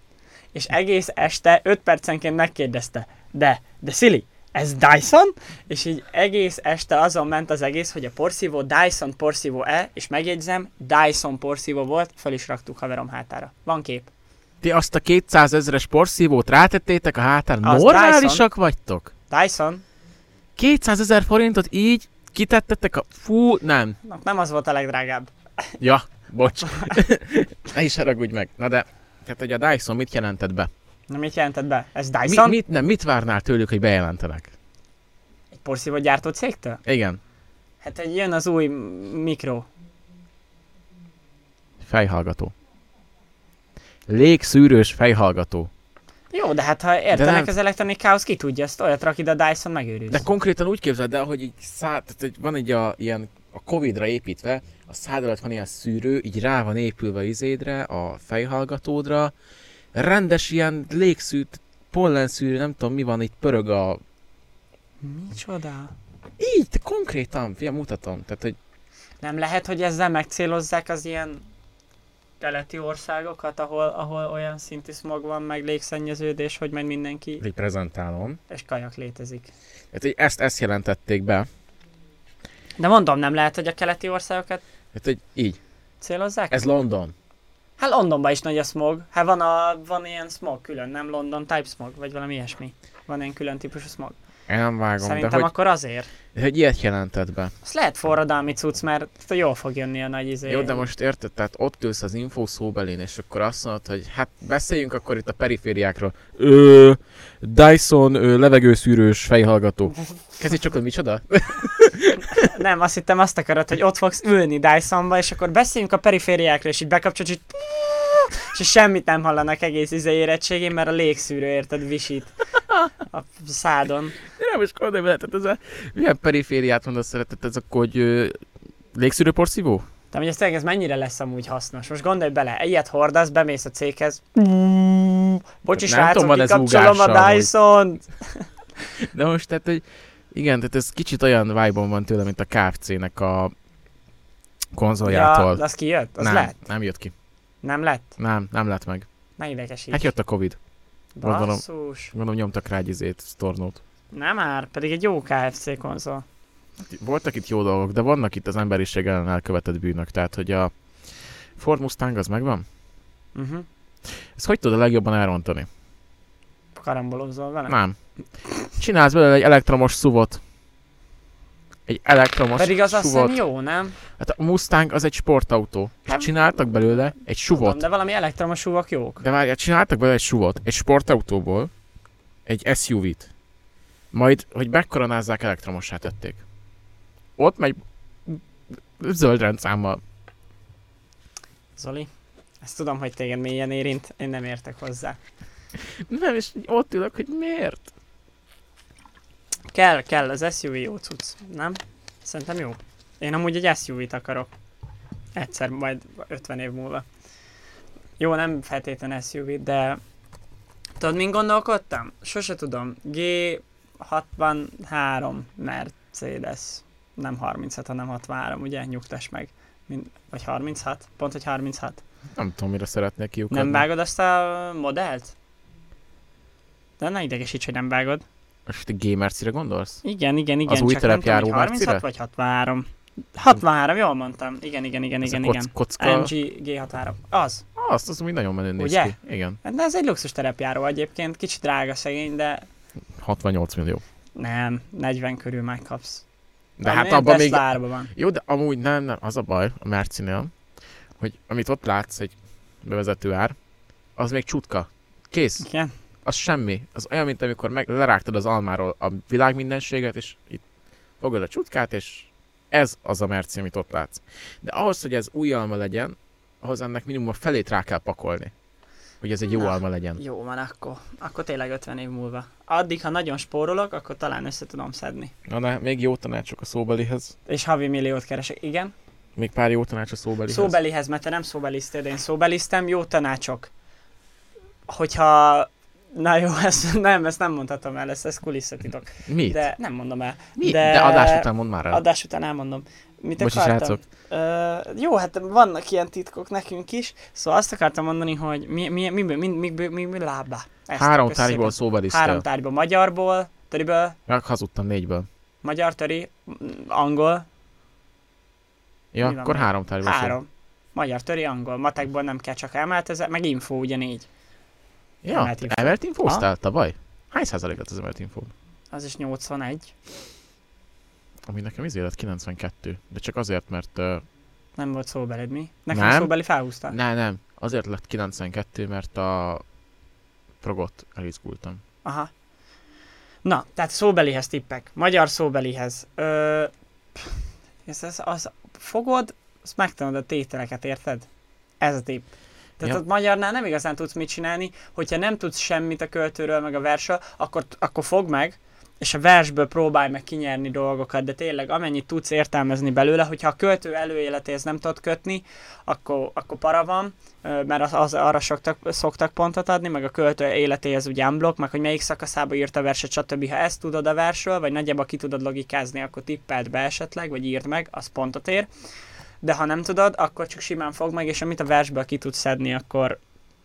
[SPEAKER 2] És egész este 5 percenként megkérdezte, de, de Szili, ez Dyson? És így egész este azon ment az egész, hogy a porszívó Dyson porszívó-e, és megjegyzem, Dyson porszívó volt, fel is raktuk haverom hátára. Van kép.
[SPEAKER 3] Ti azt a 200 ezeres porszívót rátettétek a hátán,
[SPEAKER 2] Az
[SPEAKER 3] normálisak vagytok?
[SPEAKER 2] Dyson?
[SPEAKER 3] 200 ezer forintot így kitettetek a... Fú, nem.
[SPEAKER 2] Na, nem az volt a legdrágább.
[SPEAKER 3] Ja,
[SPEAKER 2] [laughs]
[SPEAKER 3] bocs. ne is haragudj meg. Na de, tehát hogy a Dyson mit jelentett be?
[SPEAKER 2] Na mit jelentett be? Ez
[SPEAKER 3] Mi,
[SPEAKER 2] Dyson? Mi, mi?
[SPEAKER 3] mit, nem, mit várnál tőlük, hogy bejelentenek?
[SPEAKER 2] Egy porszívó gyártó cégtől?
[SPEAKER 3] Igen,
[SPEAKER 2] Hát egy jön az új m- mikro.
[SPEAKER 3] fejhallgató. Légszűrős fejhallgató.
[SPEAKER 2] Jó, de hát ha értenek
[SPEAKER 3] nem-
[SPEAKER 2] az elektronikához, ki tudja, ezt olyat rakid a Dyson megőrülsz.
[SPEAKER 3] De konkrétan úgy képzeld el, hogy így szád, tehát hogy van egy a, ilyen a Covid-ra építve, a szád alatt van ilyen szűrő, így rá van épülve izédre, a fejhallgatódra, rendes ilyen légszűrt, pollenszűrő, nem tudom mi van, itt pörög a...
[SPEAKER 2] Micsoda?
[SPEAKER 3] Így, te konkrétan, fiam, mutatom. Tehát, hogy
[SPEAKER 2] Nem lehet, hogy ezzel megcélozzák az ilyen keleti országokat, ahol, ahol olyan szintű smog van, meg légszennyeződés, hogy meg mindenki,
[SPEAKER 3] így prezentálom.
[SPEAKER 2] és kajak létezik.
[SPEAKER 3] Tehát, hogy ezt, ezt jelentették be.
[SPEAKER 2] De mondom, nem lehet, hogy a keleti országokat
[SPEAKER 3] Tehát, hogy így.
[SPEAKER 2] célozzák?
[SPEAKER 3] Ez London.
[SPEAKER 2] Hát Londonban is nagy a smog. Hát van, a, van ilyen smog külön, nem London type smog, vagy valami ilyesmi. Van ilyen külön típusú smog.
[SPEAKER 3] Én nem vágom,
[SPEAKER 2] Szerintem
[SPEAKER 3] de hogy,
[SPEAKER 2] akkor azért.
[SPEAKER 3] de hogy ilyet jelentett be.
[SPEAKER 2] Ez lehet forradalmi cucc, mert jól fog jönni a nagy izé.
[SPEAKER 3] Jó, de most érted, tehát ott ülsz az info szóbelén, és akkor azt mondod, hogy hát beszéljünk akkor itt a perifériákról. Ö, Dyson ö, levegőszűrős fejhallgató. Kezdj csak, hogy micsoda?
[SPEAKER 2] Nem, azt hittem azt akarod, hogy ott fogsz ülni Dysonba, és akkor beszéljünk a perifériákról, és így bekapcsolod, és így... És így semmit nem hallanak egész izé érettségén, mert a légszűrő érted visít a szádon.
[SPEAKER 3] Nem, és gondolj bele, tehát ez a... Milyen perifériát mondasz szeretett ez akkor, hogy ö, légszűrőporszívó?
[SPEAKER 2] De hogy ez tényleg ez mennyire lesz amúgy hasznos? Most gondolj bele, ilyet hordasz, bemész a céghez. Bocsi
[SPEAKER 3] Nem tudom,
[SPEAKER 2] srácok,
[SPEAKER 3] van ez
[SPEAKER 2] kikapcsolom
[SPEAKER 3] ugással,
[SPEAKER 2] a
[SPEAKER 3] hogy-
[SPEAKER 2] Dyson-t.
[SPEAKER 3] De most, tehát, hogy igen, tehát ez kicsit olyan vibe van tőle, mint a KFC-nek a konzoljától.
[SPEAKER 2] de az kijött? Az
[SPEAKER 3] nem,
[SPEAKER 2] lett?
[SPEAKER 3] nem jött ki.
[SPEAKER 2] Nem lett?
[SPEAKER 3] Nem, nem lett meg.
[SPEAKER 2] Ne idegesíts.
[SPEAKER 3] Hát jött a Covid. gondolom.
[SPEAKER 2] Basszus.
[SPEAKER 3] Gondolom nyomtak rá egy izét, sztornót.
[SPEAKER 2] Nem már, pedig egy jó KFC konzol.
[SPEAKER 3] Voltak itt jó dolgok, de vannak itt az emberiség ellen elkövetett bűnök. Tehát, hogy a Ford Mustang az megvan?
[SPEAKER 2] Uh-huh.
[SPEAKER 3] Ezt hogy tudod a legjobban elrontani?
[SPEAKER 2] Karambolozol vele?
[SPEAKER 3] Nem. Csinálsz belőle egy elektromos szuvot. Egy elektromos
[SPEAKER 2] Pedig az azt hiszem
[SPEAKER 3] suvot.
[SPEAKER 2] jó, nem?
[SPEAKER 3] Hát a Mustang az egy sportautó. És
[SPEAKER 2] Hát-
[SPEAKER 3] csináltak belőle egy suvot.
[SPEAKER 2] Tudom, de valami elektromos súvak jók.
[SPEAKER 3] De várjál, csináltak belőle egy suvot, egy sportautóból, egy SUV-t. Majd, hogy megkoronázzák, elektromossá tették. Ott megy zöld rendszámmal.
[SPEAKER 2] Zoli, ezt tudom, hogy téged mélyen érint, én nem értek hozzá.
[SPEAKER 3] Nem, és ott ülök, hogy miért?
[SPEAKER 2] Kell, kell, az SUV jó cucc, nem? Szerintem jó. Én amúgy egy SUV-t akarok. Egyszer, majd 50 év múlva. Jó, nem feltétlen SUV, de... Tudod, mint gondolkodtam? Sose tudom. G63 Mercedes. Nem 36, hanem 63, ugye? Nyugtass meg. Mind, vagy 36? Pont, hogy 36.
[SPEAKER 3] Nem tudom, mire szeretnék kiukadni.
[SPEAKER 2] Nem vágod azt a modellt? De ne idegesíts, hogy nem vágod.
[SPEAKER 3] Most te gamercire gondolsz?
[SPEAKER 2] Igen, igen, igen.
[SPEAKER 3] Az új
[SPEAKER 2] csak nem tudom, hogy
[SPEAKER 3] terepjáró
[SPEAKER 2] 36
[SPEAKER 3] Mercire?
[SPEAKER 2] vagy 63. 63, jól mondtam. Igen, igen, igen,
[SPEAKER 3] Ez a
[SPEAKER 2] igen,
[SPEAKER 3] koc-
[SPEAKER 2] igen.
[SPEAKER 3] Kocka,
[SPEAKER 2] MG G63. Az.
[SPEAKER 3] azt, az úgy nagyon menő néz
[SPEAKER 2] Ugye?
[SPEAKER 3] ki. Igen,
[SPEAKER 2] De ez egy luxus terepjáró egyébként. Kicsit drága szegény, de
[SPEAKER 3] 68 millió.
[SPEAKER 2] nem, 40 körül megkapsz.
[SPEAKER 3] De hát abban még...
[SPEAKER 2] Tesla van.
[SPEAKER 3] Jó, de amúgy nem, nem, az a baj a Mercinél, hogy amit ott látsz, egy bevezető ár, az még csutka. Kész.
[SPEAKER 2] Igen.
[SPEAKER 3] az semmi. Az olyan, mint amikor meg lerágtad az almáról a világ mindenséget, és itt fogod a csutkát, és ez az a merci, amit ott látsz. De ahhoz, hogy ez új alma legyen, ahhoz ennek minimum a felét rá kell pakolni. Hogy ez egy jó
[SPEAKER 2] Na.
[SPEAKER 3] alma legyen.
[SPEAKER 2] Jó van, akkor. Akkor tényleg 50 év múlva. Addig, ha nagyon spórolok, akkor talán össze tudom szedni.
[SPEAKER 3] Na, na még jó tanácsok a szóbelihez.
[SPEAKER 2] És havi milliót keresek. Igen.
[SPEAKER 3] Még pár jó tanács a szóbelihez.
[SPEAKER 2] Szóbelihez, mert te nem szóbelisztél, de én szóbelisztem, jó tanácsok. Hogyha... Na jó, [laughs] ezt nem, ezt nem mondhatom el, ezt, ez kulisszatitok.
[SPEAKER 3] Mit? De,
[SPEAKER 2] De nem mondom el. de-
[SPEAKER 3] Mi? De... de adás után mond már el.
[SPEAKER 2] Adás után elmondom. Mit
[SPEAKER 3] Bocsi,
[SPEAKER 2] akartam?
[SPEAKER 3] srácok.
[SPEAKER 2] Ö, jó, hát vannak ilyen titkok nekünk is. Szóval azt akartam mondani, hogy mi, mi, mi, mi, mi, mi, mi, mi, mi lábá. Ezt
[SPEAKER 3] Három
[SPEAKER 2] köszönöm szépen.
[SPEAKER 3] tárgyból szóbelisztel.
[SPEAKER 2] Három tárgyból. Magyarból, töriből,
[SPEAKER 3] Meg hazudtam négyből.
[SPEAKER 2] magyar töri, m- angol, Mi
[SPEAKER 3] Ja,
[SPEAKER 2] van
[SPEAKER 3] akkor
[SPEAKER 2] még?
[SPEAKER 3] három tárgyból szó-
[SPEAKER 2] három. Magyar töri, angol. Matekból nem kell csak emelt, ez, meg info ugye négy.
[SPEAKER 3] Ja,
[SPEAKER 2] Emelt info.
[SPEAKER 3] emelt infóztál tavaly? Hány százalék lett az emelt infó?
[SPEAKER 2] Az is 81.
[SPEAKER 3] Ami nekem izé lett 92, de csak azért, mert... Uh,
[SPEAKER 2] Nem volt szóbeled mi? Nekem
[SPEAKER 3] Nem.
[SPEAKER 2] szóbeli felhúzta.
[SPEAKER 3] ne, nem, azért lett 92, mert a progot elizgultam.
[SPEAKER 2] Aha. Na, tehát szóbelihez tippek. Magyar szóbelihez. Ö, pff, ez, ez, az, fogod, azt megtanod a tételeket, érted? Ez a tipp. Tehát
[SPEAKER 3] Ja.
[SPEAKER 2] ott magyarnál nem igazán tudsz mit csinálni, hogyha nem tudsz semmit a költőről, meg a versről, akkor, akkor fogd meg, és a versből próbálj meg kinyerni dolgokat, de tényleg amennyit tudsz értelmezni belőle, hogyha a költő előéletéhez nem tudod kötni, akkor, akkor para van, Ö, mert az, az, arra soktak, szoktak pontot adni, meg a költő életéhez ugye unblock, meg hogy melyik szakaszába írt a verset, stb. Ha ezt tudod a versről, vagy nagyjából ki tudod logikázni, akkor tippeld be esetleg, vagy írd meg, az pontot ér. De ha nem tudod, akkor csak simán fog meg, és amit a versből ki tudsz szedni, akkor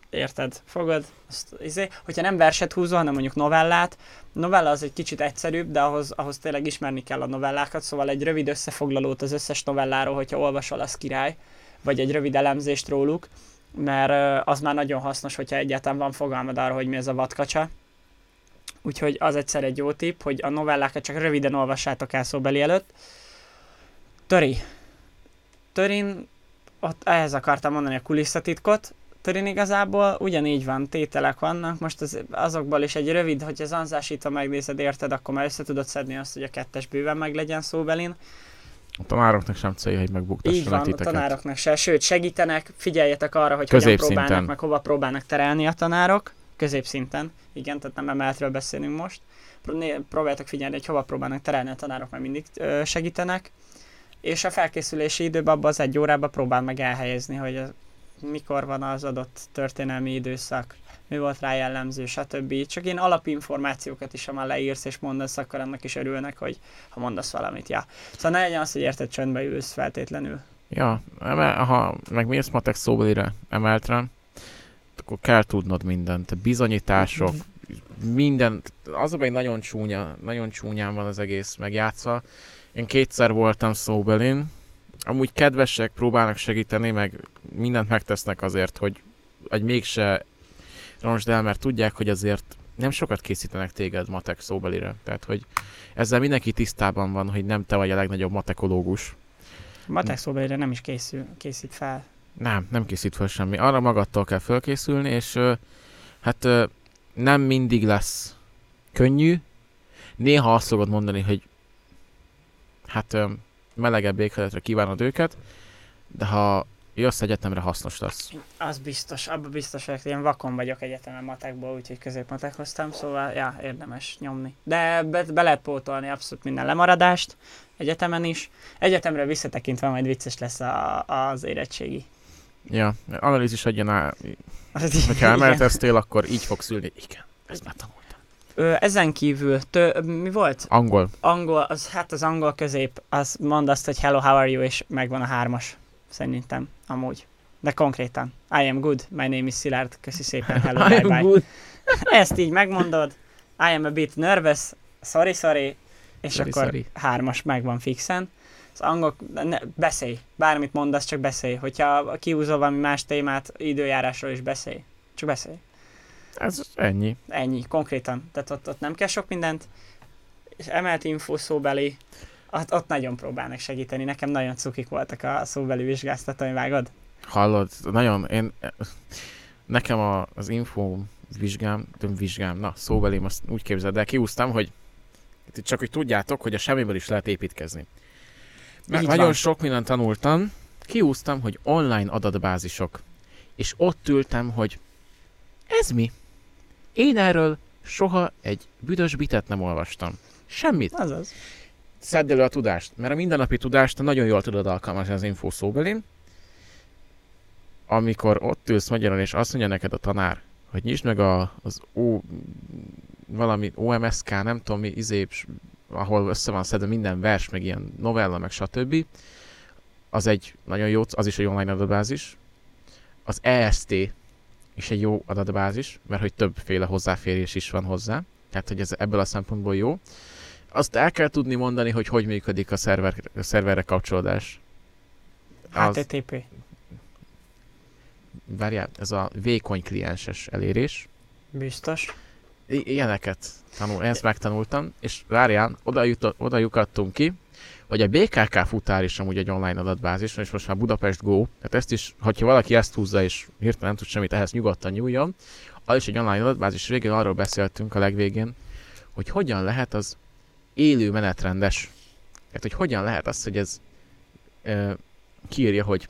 [SPEAKER 2] érted, fogod. Azt, izé. Hogyha nem verset húzol, hanem mondjuk novellát, novella az egy kicsit egyszerűbb, de ahhoz, ahhoz tényleg ismerni kell a novellákat, szóval egy rövid összefoglalót az összes novelláról, hogyha olvasol, az király, vagy egy rövid elemzést róluk, mert ö, az már nagyon hasznos, hogyha egyáltalán van fogalmad arra, hogy mi ez a vadkacsa. Úgyhogy az egyszer egy jó tipp, hogy a novellákat csak röviden olvassátok el szóbeli előtt. Töri. Törin, ott ehhez akartam mondani a kulisszatitkot, Törin igazából ugyanígy van, tételek vannak, most az, azokból is egy rövid, hogy az anzásítva megnézed, érted, akkor már össze tudod szedni azt, hogy a kettes bőven meg legyen szóbelin.
[SPEAKER 3] A tanároknak sem célja, hogy
[SPEAKER 2] Így
[SPEAKER 3] megbuktassanak
[SPEAKER 2] van, a
[SPEAKER 3] titeket.
[SPEAKER 2] tanároknak se, sőt segítenek, figyeljetek arra, hogy hogyan
[SPEAKER 3] Középszinten.
[SPEAKER 2] próbálnak, meg hova próbálnak terelni a tanárok, középszinten, igen, tehát nem emeltről beszélünk most. Pró- né- Próbáltak figyelni, hogy hova próbálnak terelni a tanárok, meg mindig ö, segítenek. és a felkészülési időben abban az egy órában próbál meg elhelyezni, hogy az, mikor van az adott történelmi időszak, mi volt rá jellemző, stb. Csak én alapinformációkat is, ha már leírsz és mondasz, akkor annak is örülnek, hogy ha mondasz valamit, ja. Szóval ne legyen az, hogy érted csöndbe ülsz feltétlenül.
[SPEAKER 3] Ja, emel, ha meg miért matek szóbelire emeltre, akkor kell tudnod mindent. Bizonyítások, minden, az a baj, nagyon csúnya, nagyon csúnyán van az egész megjátszva. Én kétszer voltam szóbelin, amúgy kedvesek, próbálnak segíteni, meg mindent megtesznek azért, hogy, hogy mégse roncsd el, mert tudják, hogy azért nem sokat készítenek téged matek szóbelire. Tehát, hogy ezzel mindenki tisztában van, hogy nem te vagy a legnagyobb matekológus.
[SPEAKER 2] Hát, Matek szóbelire nem is készül, készít fel.
[SPEAKER 3] Nem, nem készít fel semmi. Arra magadtól kell fölkészülni, és ö, hát ö, nem mindig lesz könnyű. Néha azt fogod mondani, hogy hát ö, melegebb éghajlatra kívánod őket, de ha jössz egyetemre, hasznos lesz.
[SPEAKER 2] Az biztos, abban biztos vagyok, hogy én vakon vagyok egyetemen matekból, úgyhogy középmatek hoztam, szóval ja, érdemes nyomni. De be, be lehet pótolni abszolút minden lemaradást, egyetemen is. Egyetemre visszatekintve majd vicces lesz a, az érettségi.
[SPEAKER 3] Ja, analízis egyen áll.
[SPEAKER 2] Az
[SPEAKER 3] Hogyha emelteztél, akkor így fogsz ülni. Igen, ezt már tanultam.
[SPEAKER 2] Ö, ezen kívül, tő, mi volt?
[SPEAKER 3] Angol.
[SPEAKER 2] Angol, az, hát az angol közép, az mond azt, hogy hello, how are you, és megvan a hármas. Szerintem, amúgy. De konkrétan. I am good, my name is Szilárd, köszi szépen,
[SPEAKER 3] [laughs]
[SPEAKER 2] hello, bye, bye. Ezt így megmondod, I am a bit nervous, sorry, sorry, és
[SPEAKER 3] Sorry,
[SPEAKER 2] akkor
[SPEAKER 3] sorry.
[SPEAKER 2] hármas megvan fixen. Az angol, ne, beszélj, bármit mondasz, csak beszélj. Hogyha kihúzol valami más témát, időjárásról is beszélj. Csak beszélj.
[SPEAKER 3] Ez ennyi.
[SPEAKER 2] Ennyi, konkrétan. Tehát ott, ott nem kell sok mindent. És emelt info szóbeli, ott, ott nagyon próbálnak segíteni. Nekem nagyon cukik voltak a szóbeli vizsgáztatói, vágod?
[SPEAKER 3] Hallod, nagyon, én, nekem a, az info vizsgám, nem vizsgám, na szóbelém azt úgy képzeld el, kiúztam, hogy itt csak hogy tudjátok, hogy a semmiből is lehet építkezni. Mert
[SPEAKER 2] Így
[SPEAKER 3] nagyon
[SPEAKER 2] van.
[SPEAKER 3] sok mindent tanultam, kiúztam, hogy online adatbázisok. És ott ültem, hogy ez mi? Én erről soha egy büdös bitet nem olvastam. Semmit.
[SPEAKER 2] Azaz.
[SPEAKER 3] szedd elő a tudást, mert a mindennapi tudást nagyon jól tudod alkalmazni az info szóbelin. Amikor ott ülsz magyarul, és azt mondja neked a tanár, hogy nyisd meg a, az O, valami OMSK, nem tudom mi, izé, s- ahol össze van szedve minden vers, meg ilyen novella, meg stb. Az egy nagyon jó, az is egy online adatbázis. Az EST is egy jó adatbázis, mert hogy többféle hozzáférés is van hozzá. Tehát, hogy ez ebből a szempontból jó azt el kell tudni mondani, hogy hogy működik a, szerver, a szerverre kapcsolódás.
[SPEAKER 2] Hát
[SPEAKER 3] Az-
[SPEAKER 2] HTTP.
[SPEAKER 3] Várjál, ez a vékony klienses elérés.
[SPEAKER 2] Biztos.
[SPEAKER 3] I- ilyeneket tanul, ezt megtanultam, és várjál, oda, jutott, oda lyukadtunk ki, hogy a BKK futár is amúgy egy online adatbázis, és most már Budapest Go, tehát ezt is, hogyha valaki ezt húzza és hirtelen nem tud semmit, ehhez nyugodtan nyúljon, az is egy online adatbázis, végén arról beszéltünk a legvégén, hogy hogyan lehet az élő menetrendes. Tehát, hogy hogyan lehet az, hogy ez ö, kiírja, hogy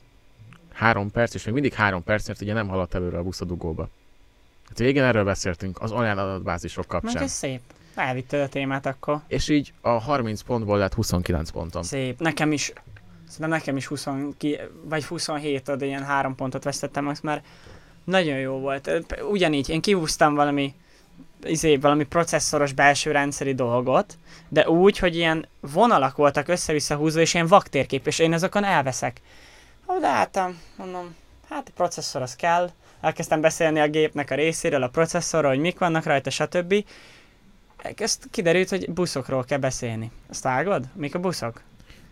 [SPEAKER 3] három perc, és még mindig három perc, mert ugye nem haladt előre a busz a dugóba. Hát végén erről beszéltünk, az online adatbázisok
[SPEAKER 2] Mondjuk
[SPEAKER 3] kapcsán.
[SPEAKER 2] ez szép. Elvitted a témát akkor.
[SPEAKER 3] És így a 30 pontból lett 29 pontom.
[SPEAKER 2] Szép. Nekem is, szerintem nekem is 20, ki- vagy 27 ad, ilyen három pontot vesztettem, az már nagyon jó volt. Ö, p- Ugyanígy, én kihúztam valami, izé, valami processzoros belső rendszeri dolgot, de úgy, hogy ilyen vonalak voltak össze-vissza húzva, és ilyen vaktérkép, és én azokon elveszek. Odaálltam, mondom, hát a processzor az kell, elkezdtem beszélni a gépnek a részéről, a processzorról, hogy mik vannak rajta, stb. Ezt kiderült, hogy buszokról kell beszélni. Ezt vágod? Mik a buszok?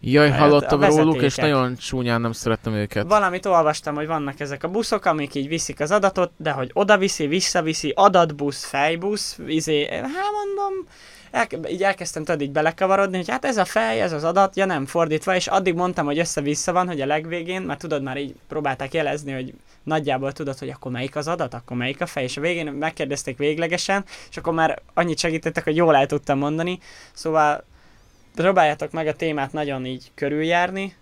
[SPEAKER 3] Jaj,
[SPEAKER 2] Hát
[SPEAKER 3] hallottam
[SPEAKER 2] a
[SPEAKER 3] róluk, és
[SPEAKER 2] vezetékek.
[SPEAKER 3] nagyon csúnyán nem szerettem őket.
[SPEAKER 2] Valamit olvastam, hogy vannak ezek a buszok, amik így viszik az adatot, de hogy oda viszi, visszaviszi, adatbusz, fejbusz, izé, hát mondom, elke, így elkezdtem tudod így belekavarodni, hogy hát ez a fej, ez az adat, ja nem, fordítva, és addig mondtam, hogy össze-vissza van, hogy a legvégén, mert tudod, már így próbálták jelezni, hogy nagyjából tudod, hogy akkor melyik az adat, akkor melyik a fej, és a végén megkérdezték véglegesen, és akkor már annyit segítettek, hogy jól el tudtam mondani, szóval próbáljátok meg a témát nagyon így körüljárni,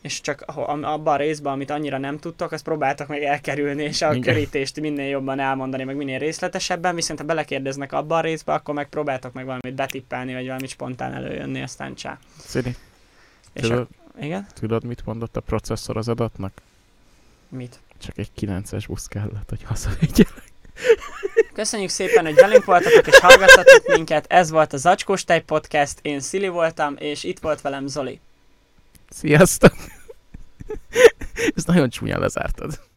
[SPEAKER 2] és csak aho- am- abban a részben, amit annyira nem tudtok, azt próbáltak meg elkerülni, és a
[SPEAKER 3] Igen.
[SPEAKER 2] körítést minél jobban elmondani, meg minél részletesebben, viszont ha belekérdeznek abban a részbe, akkor meg próbáltak meg valamit betippelni, vagy valamit spontán előjönni, aztán csá. És
[SPEAKER 3] Tudod,
[SPEAKER 2] Igen?
[SPEAKER 3] Tudod, mit mondott a processzor az adatnak?
[SPEAKER 2] Mit?
[SPEAKER 3] Csak egy 9-es busz kellett, hogy hazavigye.
[SPEAKER 2] Köszönjük szépen, hogy velünk voltatok és hallgattatok minket. Ez volt a Zacskós Tej Podcast. Én Szili voltam, és itt volt velem Zoli.
[SPEAKER 3] [laughs] Sziasztok! Ezt nagyon csúnyán lezártad.